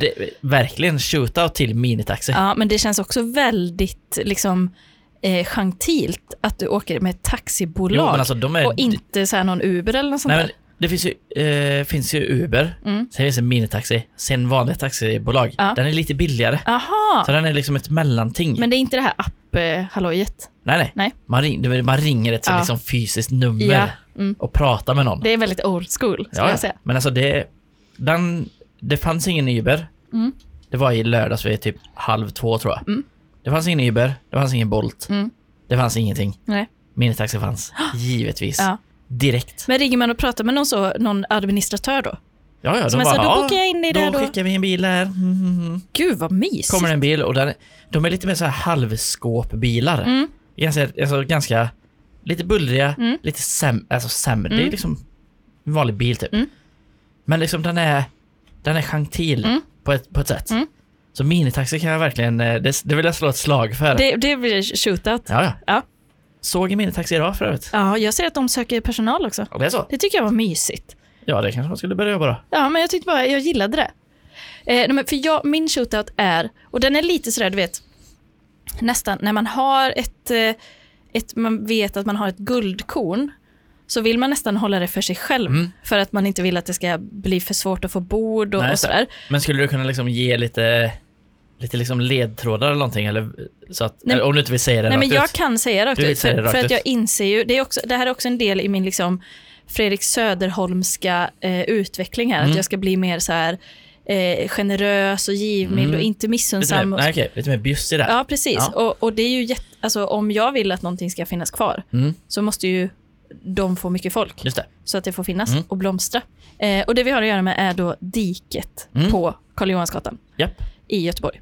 Speaker 1: Det, verkligen shootout till minitaxi.
Speaker 2: Ja, men det känns också väldigt liksom eh, gentilt att du åker med ett taxibolag
Speaker 1: Jo, men alltså, de är,
Speaker 2: och inte så här någon Uber eller något sånt
Speaker 1: nej, men
Speaker 2: där.
Speaker 1: det finns ju, eh, finns ju Uber,
Speaker 2: Mm.
Speaker 1: sen finns det minitaxi, sen vanliga taxibolag.
Speaker 2: Ja.
Speaker 1: Den är lite billigare.
Speaker 2: Jaha,
Speaker 1: Så den är liksom ett mellanting.
Speaker 2: men det är inte det här eh, app-hallojet.
Speaker 1: nej, nej.
Speaker 2: Nej.
Speaker 1: Man, ring, du vet, man ringer ett
Speaker 2: Ja.
Speaker 1: liksom, fysiskt nummer
Speaker 2: Ja, mm.
Speaker 1: och pratar med någon.
Speaker 2: Det är väldigt old school, skulle
Speaker 1: Ja,
Speaker 2: jag säga.
Speaker 1: Men alltså det, den, det fanns ingen Uber.
Speaker 2: Mm.
Speaker 1: Det var i lördags vid typ halv två tror jag.
Speaker 2: Mm.
Speaker 1: Det fanns ingen Uber, det fanns ingen Bolt,
Speaker 2: Mm.
Speaker 1: det fanns ingenting.
Speaker 2: Nej.
Speaker 1: Minitaxi
Speaker 2: (gasps)
Speaker 1: fanns, givetvis.
Speaker 2: Ja.
Speaker 1: Direkt.
Speaker 2: Men ringer man och pratar med någon, så, någon administratör då?
Speaker 1: Ja, ja,
Speaker 2: Som
Speaker 1: de
Speaker 2: är så,
Speaker 1: bara,
Speaker 2: här, då
Speaker 1: ja,
Speaker 2: bokar jag in dig där
Speaker 1: då
Speaker 2: då.
Speaker 1: skickar vi en bil här. (laughs) Mm, mm, mm.
Speaker 2: Gud vad mysigt.
Speaker 1: Kommer en bil och den, de är lite mer så här halvskåpbilar.
Speaker 2: Mm.
Speaker 1: Ganska, alltså, ganska, lite bullriga,
Speaker 2: Mm.
Speaker 1: lite säm, alltså, sämre. Det
Speaker 2: Mm.
Speaker 1: är liksom en vanlig bil typ.
Speaker 2: Mm.
Speaker 1: Men liksom den är, den är gentil
Speaker 2: Mm.
Speaker 1: på, ett, på ett sätt.
Speaker 2: Mm.
Speaker 1: Så minitaxi kan jag verkligen, eh, det, det vill jag slå ett slag för.
Speaker 2: Det, det blir shootout.
Speaker 1: Ja, ja.
Speaker 2: Ja.
Speaker 1: Såg en minitaxi idag för övrigt.
Speaker 2: Ja, jag ser att de söker personal också.
Speaker 1: Ja, det är så.
Speaker 2: Det tycker jag var mysigt.
Speaker 1: Ja, det kanske man skulle börja jobba då.
Speaker 2: Ja, men jag tyckte bara, jag gillade det. Eh, nej, men för jag, min shootout är, och den är lite sådär, du vet, nästan när man har ett, eh, ett, man vet att man har ett guldkorn, så vill man nästan hålla det för sig själv,
Speaker 1: Mm.
Speaker 2: för att man inte vill att det ska bli för svårt att få bord och,
Speaker 1: Nej,
Speaker 2: och
Speaker 1: så-
Speaker 2: sådär.
Speaker 1: Men skulle du kunna liksom ge lite, lite liksom ledtrådar eller någonting? Eller, så att,
Speaker 2: Nej.
Speaker 1: eller om du inte vill säga det
Speaker 2: Nej, men
Speaker 1: rakt
Speaker 2: jag
Speaker 1: ut.
Speaker 2: kan säga rakt
Speaker 1: Du vill
Speaker 2: ut,
Speaker 1: säga
Speaker 2: för,
Speaker 1: det rakt
Speaker 2: för att
Speaker 1: ut.
Speaker 2: jag inser ju, det, är också, det här är också en del i min liksom Fredrik Söderholmska eh, utveckling här, att
Speaker 1: Mm.
Speaker 2: jag ska bli mer så här eh, generös och givmild
Speaker 1: Mm.
Speaker 2: och inte
Speaker 1: Lite mer,
Speaker 2: missunnsam. och-
Speaker 1: nej, okej, lite mer bjussig där.
Speaker 2: Ja, precis.
Speaker 1: Ja.
Speaker 2: Och, och det är ju jätte, alltså, om jag vill att någonting ska finnas kvar
Speaker 1: Mm,
Speaker 2: så måste ju de få mycket folk
Speaker 1: just det.
Speaker 2: så att det får finnas
Speaker 1: Mm.
Speaker 2: och blomstra. Eh, och det vi har att göra med är då diket
Speaker 1: Mm.
Speaker 2: på Karl Johansgatan
Speaker 1: Japp.
Speaker 2: i Göteborg.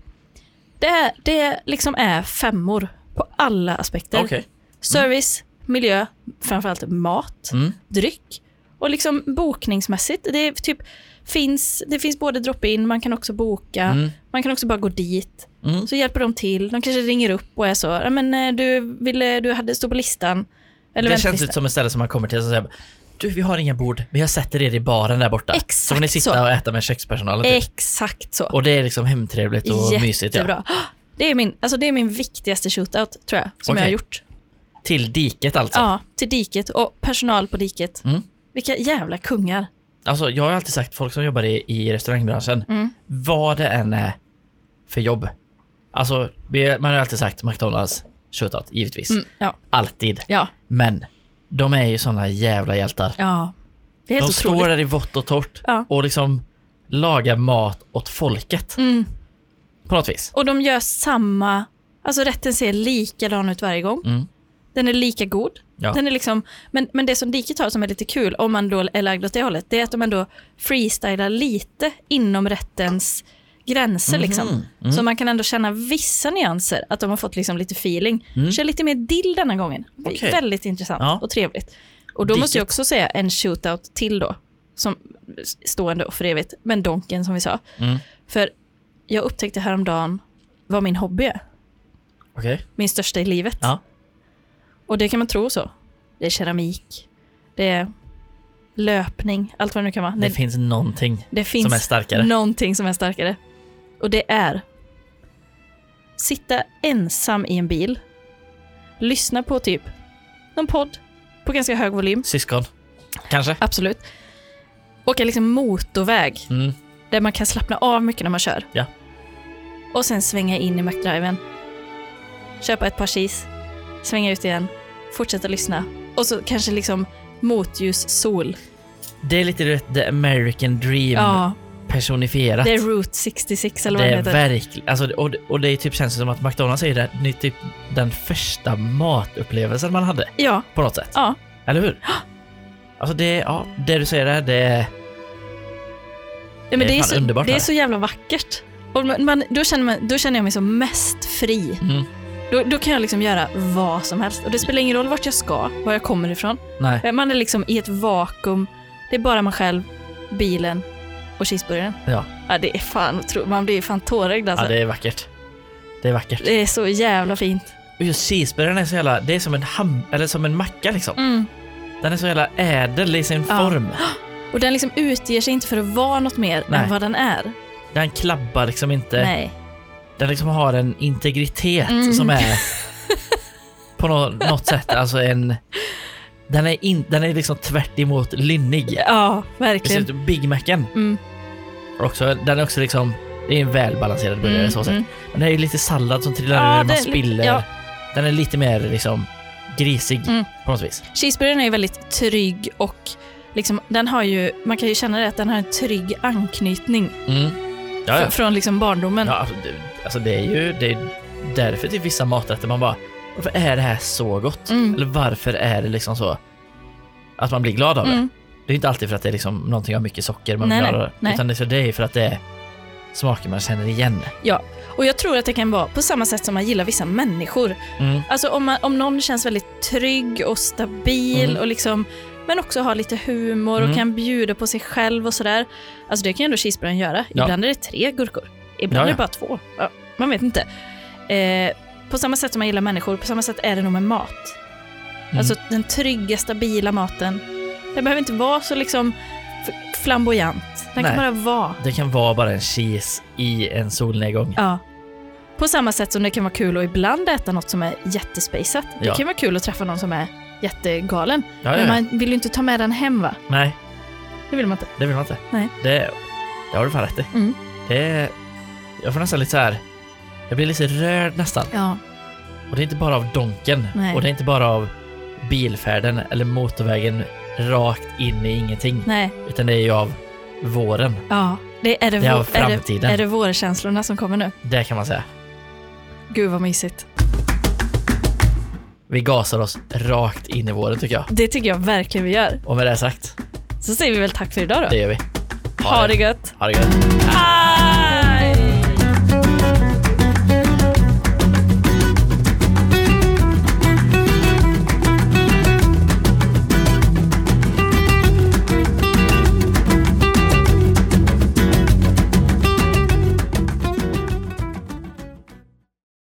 Speaker 2: Det, det liksom är femmor på alla aspekter.
Speaker 1: Okej.
Speaker 2: Service, miljö, framförallt mat,
Speaker 1: Mm.
Speaker 2: dryck och liksom bokningsmässigt. Det, är typ, finns, det finns både drop-in, man kan också boka,
Speaker 1: Mm.
Speaker 2: man kan också bara gå dit.
Speaker 1: Mm.
Speaker 2: Så hjälper de till, de kanske ringer upp och är så, "Ja, men eh, du, ville, du hade stå på listan. Eller
Speaker 1: det
Speaker 2: väntelistan."
Speaker 1: känns lite som ett ställe som man kommer till och säger Du, vi har inga bord, men jag sätter er i baren där borta.
Speaker 2: Exakt
Speaker 1: så får ni sitta
Speaker 2: så.
Speaker 1: och äta med kökspersonalen. Typ.
Speaker 2: Exakt så.
Speaker 1: Och det är liksom hemtrevligt och mysigt. Ja.
Speaker 2: Jättebra. Det är, min, alltså det är min viktigaste shootout, tror jag, som jag har
Speaker 1: Okej.
Speaker 2: gjort.
Speaker 1: Till diket alltså.
Speaker 2: Ja, till diket och personal på diket.
Speaker 1: Mm.
Speaker 2: Vilka jävla kungar.
Speaker 1: alltså. Jag har alltid sagt, folk som jobbar i, i restaurangbranschen,
Speaker 2: Mm.
Speaker 1: vad det än är för jobb. Alltså, vi- man har alltid sagt McDonalds shootout, givetvis.
Speaker 2: Mm, ja,
Speaker 1: Alltid.
Speaker 2: ja,
Speaker 1: Men de är ju såna jävla hjältar.
Speaker 2: ja. Det är helt
Speaker 1: de
Speaker 2: otroligt.
Speaker 1: står där i vått och torrt
Speaker 2: Ja.
Speaker 1: och liksom lagar mat åt folket.
Speaker 2: Mm.
Speaker 1: På något vis.
Speaker 2: Och de gör samma, alltså rätten ser likadan ut varje gång.
Speaker 1: Mm.
Speaker 2: Den är lika god.
Speaker 1: Ja.
Speaker 2: Den är liksom, men, men det som Diket har som är lite kul, om man då är lagd åt det hållet, det är att de ändå freestylar lite inom rättens gränser. Liksom.
Speaker 1: mm.
Speaker 2: Så man kan ändå känna vissa nyanser, att de har fått liksom lite feeling.
Speaker 1: Mm.
Speaker 2: Kör lite mer dill denna gången. Det är
Speaker 1: Okej.
Speaker 2: Väldigt intressant
Speaker 1: Ja.
Speaker 2: och trevligt. Och då måste jag
Speaker 1: Diket.
Speaker 2: också säga en shootout till då, som stående och för evigt, men Donken som vi sa.
Speaker 1: Mm.
Speaker 2: För jag upptäckte häromdagen vad min hobby är.
Speaker 1: Okej.
Speaker 2: Min största i livet.
Speaker 1: Ja.
Speaker 2: Och det kan man tro så. Det är keramik, det är löpning, allt vad det nu kan vara.
Speaker 1: Det
Speaker 2: Det,
Speaker 1: finns någonting
Speaker 2: det finns
Speaker 1: som är starkare.
Speaker 2: någonting som är starkare. Och det är sitta ensam i en bil lyssna på typ någon podd på ganska hög volym.
Speaker 1: Syskon. Kanske.
Speaker 2: Absolut. Åka liksom motorväg
Speaker 1: Mm.
Speaker 2: där man kan slappna av mycket när man kör.
Speaker 1: Ja.
Speaker 2: Och sen svänga in i McDriven. Köpa ett par cheese, svänga ut igen, fortsätta lyssna. Och så kanske liksom motljus, sol.
Speaker 1: Det är lite du vet, the American dream
Speaker 2: Ja,
Speaker 1: personifierat.
Speaker 2: det är Route 66 eller
Speaker 1: Det
Speaker 2: vad det
Speaker 1: är
Speaker 2: heter.
Speaker 1: verkligen, alltså, det- och, det- och det är typ känns som att McDonalds är det, det är typ den första matupplevelsen man hade
Speaker 2: Ja,
Speaker 1: på något sätt.
Speaker 2: Ja.
Speaker 1: Eller hur? Alltså det, ja, det du säger där, det är
Speaker 2: Ja, men
Speaker 1: Det
Speaker 2: det,
Speaker 1: är
Speaker 2: är
Speaker 1: fan
Speaker 2: så,
Speaker 1: underbart,
Speaker 2: Det är
Speaker 1: hörru.
Speaker 2: så jävla vackert. Och man, man, då, känner man, då känner jag mig som mest fri.
Speaker 1: Mm.
Speaker 2: Då, då kan jag liksom göra vad som helst. Och det spelar ingen roll vart jag ska, var jag kommer ifrån.
Speaker 1: nej,
Speaker 2: Man är liksom i ett vakuum. Det är bara man själv, bilen och cheeseburgaren.
Speaker 1: Ja.
Speaker 2: ja det är fan, otro- man blir fan tårögd alltså.
Speaker 1: ja,
Speaker 2: det...
Speaker 1: det är vackert. Det är vackert.
Speaker 2: är så jävla fint.
Speaker 1: Och just cheeseburgaren är så jävla, det är som en ham, eller som en macka liksom.
Speaker 2: Mm.
Speaker 1: Den är så jävla ädel i sin
Speaker 2: Ja.
Speaker 1: form.
Speaker 2: Och den liksom utger sig inte för att vara något mer
Speaker 1: Nej.
Speaker 2: än vad den är.
Speaker 1: Den klabbar liksom inte.
Speaker 2: Nej.
Speaker 1: Den liksom har en integritet
Speaker 2: Mm.
Speaker 1: som
Speaker 2: (laughs)
Speaker 1: är på nå- något sätt alltså en... Den är, in, den är liksom tvärt emot lynnig.
Speaker 2: Ja, verkligen.
Speaker 1: Precis, Big Macen.
Speaker 2: Mm.
Speaker 1: Också, den är också liksom... Det är en välbalanserad burgare
Speaker 2: Mm,
Speaker 1: så sett.
Speaker 2: mm.
Speaker 1: Men det är ju lite sallad som trillar
Speaker 2: Ja,
Speaker 1: över, man
Speaker 2: det är li-
Speaker 1: spiller.
Speaker 2: ja.
Speaker 1: Den är lite mer liksom grisig
Speaker 2: Mm.
Speaker 1: på något vis.
Speaker 2: Cheeseburgaren är ju väldigt trygg och liksom, den har ju, man kan ju känna det att den har en trygg anknytning
Speaker 1: Mm. Ja, ja.
Speaker 2: fr- från liksom barndomen.
Speaker 1: ja alltså, det, alltså det är ju det är därför till vissa maträtter man bara Varför är det här så gott?
Speaker 2: Mm.
Speaker 1: Eller varför är det liksom så att man blir glad av det?
Speaker 2: Mm.
Speaker 1: Det är inte alltid för att det är liksom någonting av mycket socker man
Speaker 2: Nej,
Speaker 1: blir
Speaker 2: nej,
Speaker 1: glad av.
Speaker 2: nej.
Speaker 1: Utan det är, så det är för att det är smaker man känner igen.
Speaker 2: Och jag tror att det kan vara på samma sätt som man gillar vissa människor.
Speaker 1: Mm.
Speaker 2: Alltså om, man, om någon känns väldigt trygg och stabil
Speaker 1: Mm.
Speaker 2: och liksom, men också har lite humor och
Speaker 1: Mm.
Speaker 2: kan bjuda på sig själv och sådär. Alltså det kan ju ändå cheeseburgaren göra.
Speaker 1: Ja.
Speaker 2: Ibland är det tre gurkor. Ibland
Speaker 1: Ja,
Speaker 2: är
Speaker 1: ja.
Speaker 2: det bara två. Ja, man vet inte. Eh, på samma sätt som man gillar människor, på samma sätt är det nog med mat.
Speaker 1: Mm.
Speaker 2: Alltså den trygga, stabila maten. Den behöver inte vara så liksom f- flamboyant. Den
Speaker 1: Nej.
Speaker 2: kan bara vara.
Speaker 1: Det kan vara bara en cheese i en solnedgång.
Speaker 2: Ja. På samma sätt som det kan vara kul att ibland äta något som är jättespejsat. Det
Speaker 1: Ja.
Speaker 2: kan vara kul att träffa någon som är jättegalen.
Speaker 1: Ja, ja.
Speaker 2: Men man vill ju inte ta med den hem va?
Speaker 1: Nej,
Speaker 2: Det vill man inte.
Speaker 1: det vill man inte.
Speaker 2: Nej.
Speaker 1: Det, det har du fan rätt i.
Speaker 2: Mm.
Speaker 1: Det är, jag får nästan lite så här. Jag blir lite rörd nästan.
Speaker 2: Ja.
Speaker 1: Och det är inte bara av donken.
Speaker 2: Nej.
Speaker 1: Och det är inte bara av bilfärden eller motorvägen rakt in i ingenting.
Speaker 2: Nej.
Speaker 1: Utan det är ju av våren.
Speaker 2: Ja. Det är det,
Speaker 1: Det är av
Speaker 2: vår, är det,
Speaker 1: framtiden.
Speaker 2: är det vårkänslorna som kommer nu.
Speaker 1: Det kan man säga.
Speaker 2: Gud vad mysigt.
Speaker 1: Vi gasar oss rakt in i våren tycker jag.
Speaker 2: Det tycker jag verkligen vi gör.
Speaker 1: Och med det sagt,
Speaker 2: Så säger vi väl tack för idag då.
Speaker 1: det gör vi.
Speaker 2: ha det gött.
Speaker 1: Ha det gött.
Speaker 2: Ah!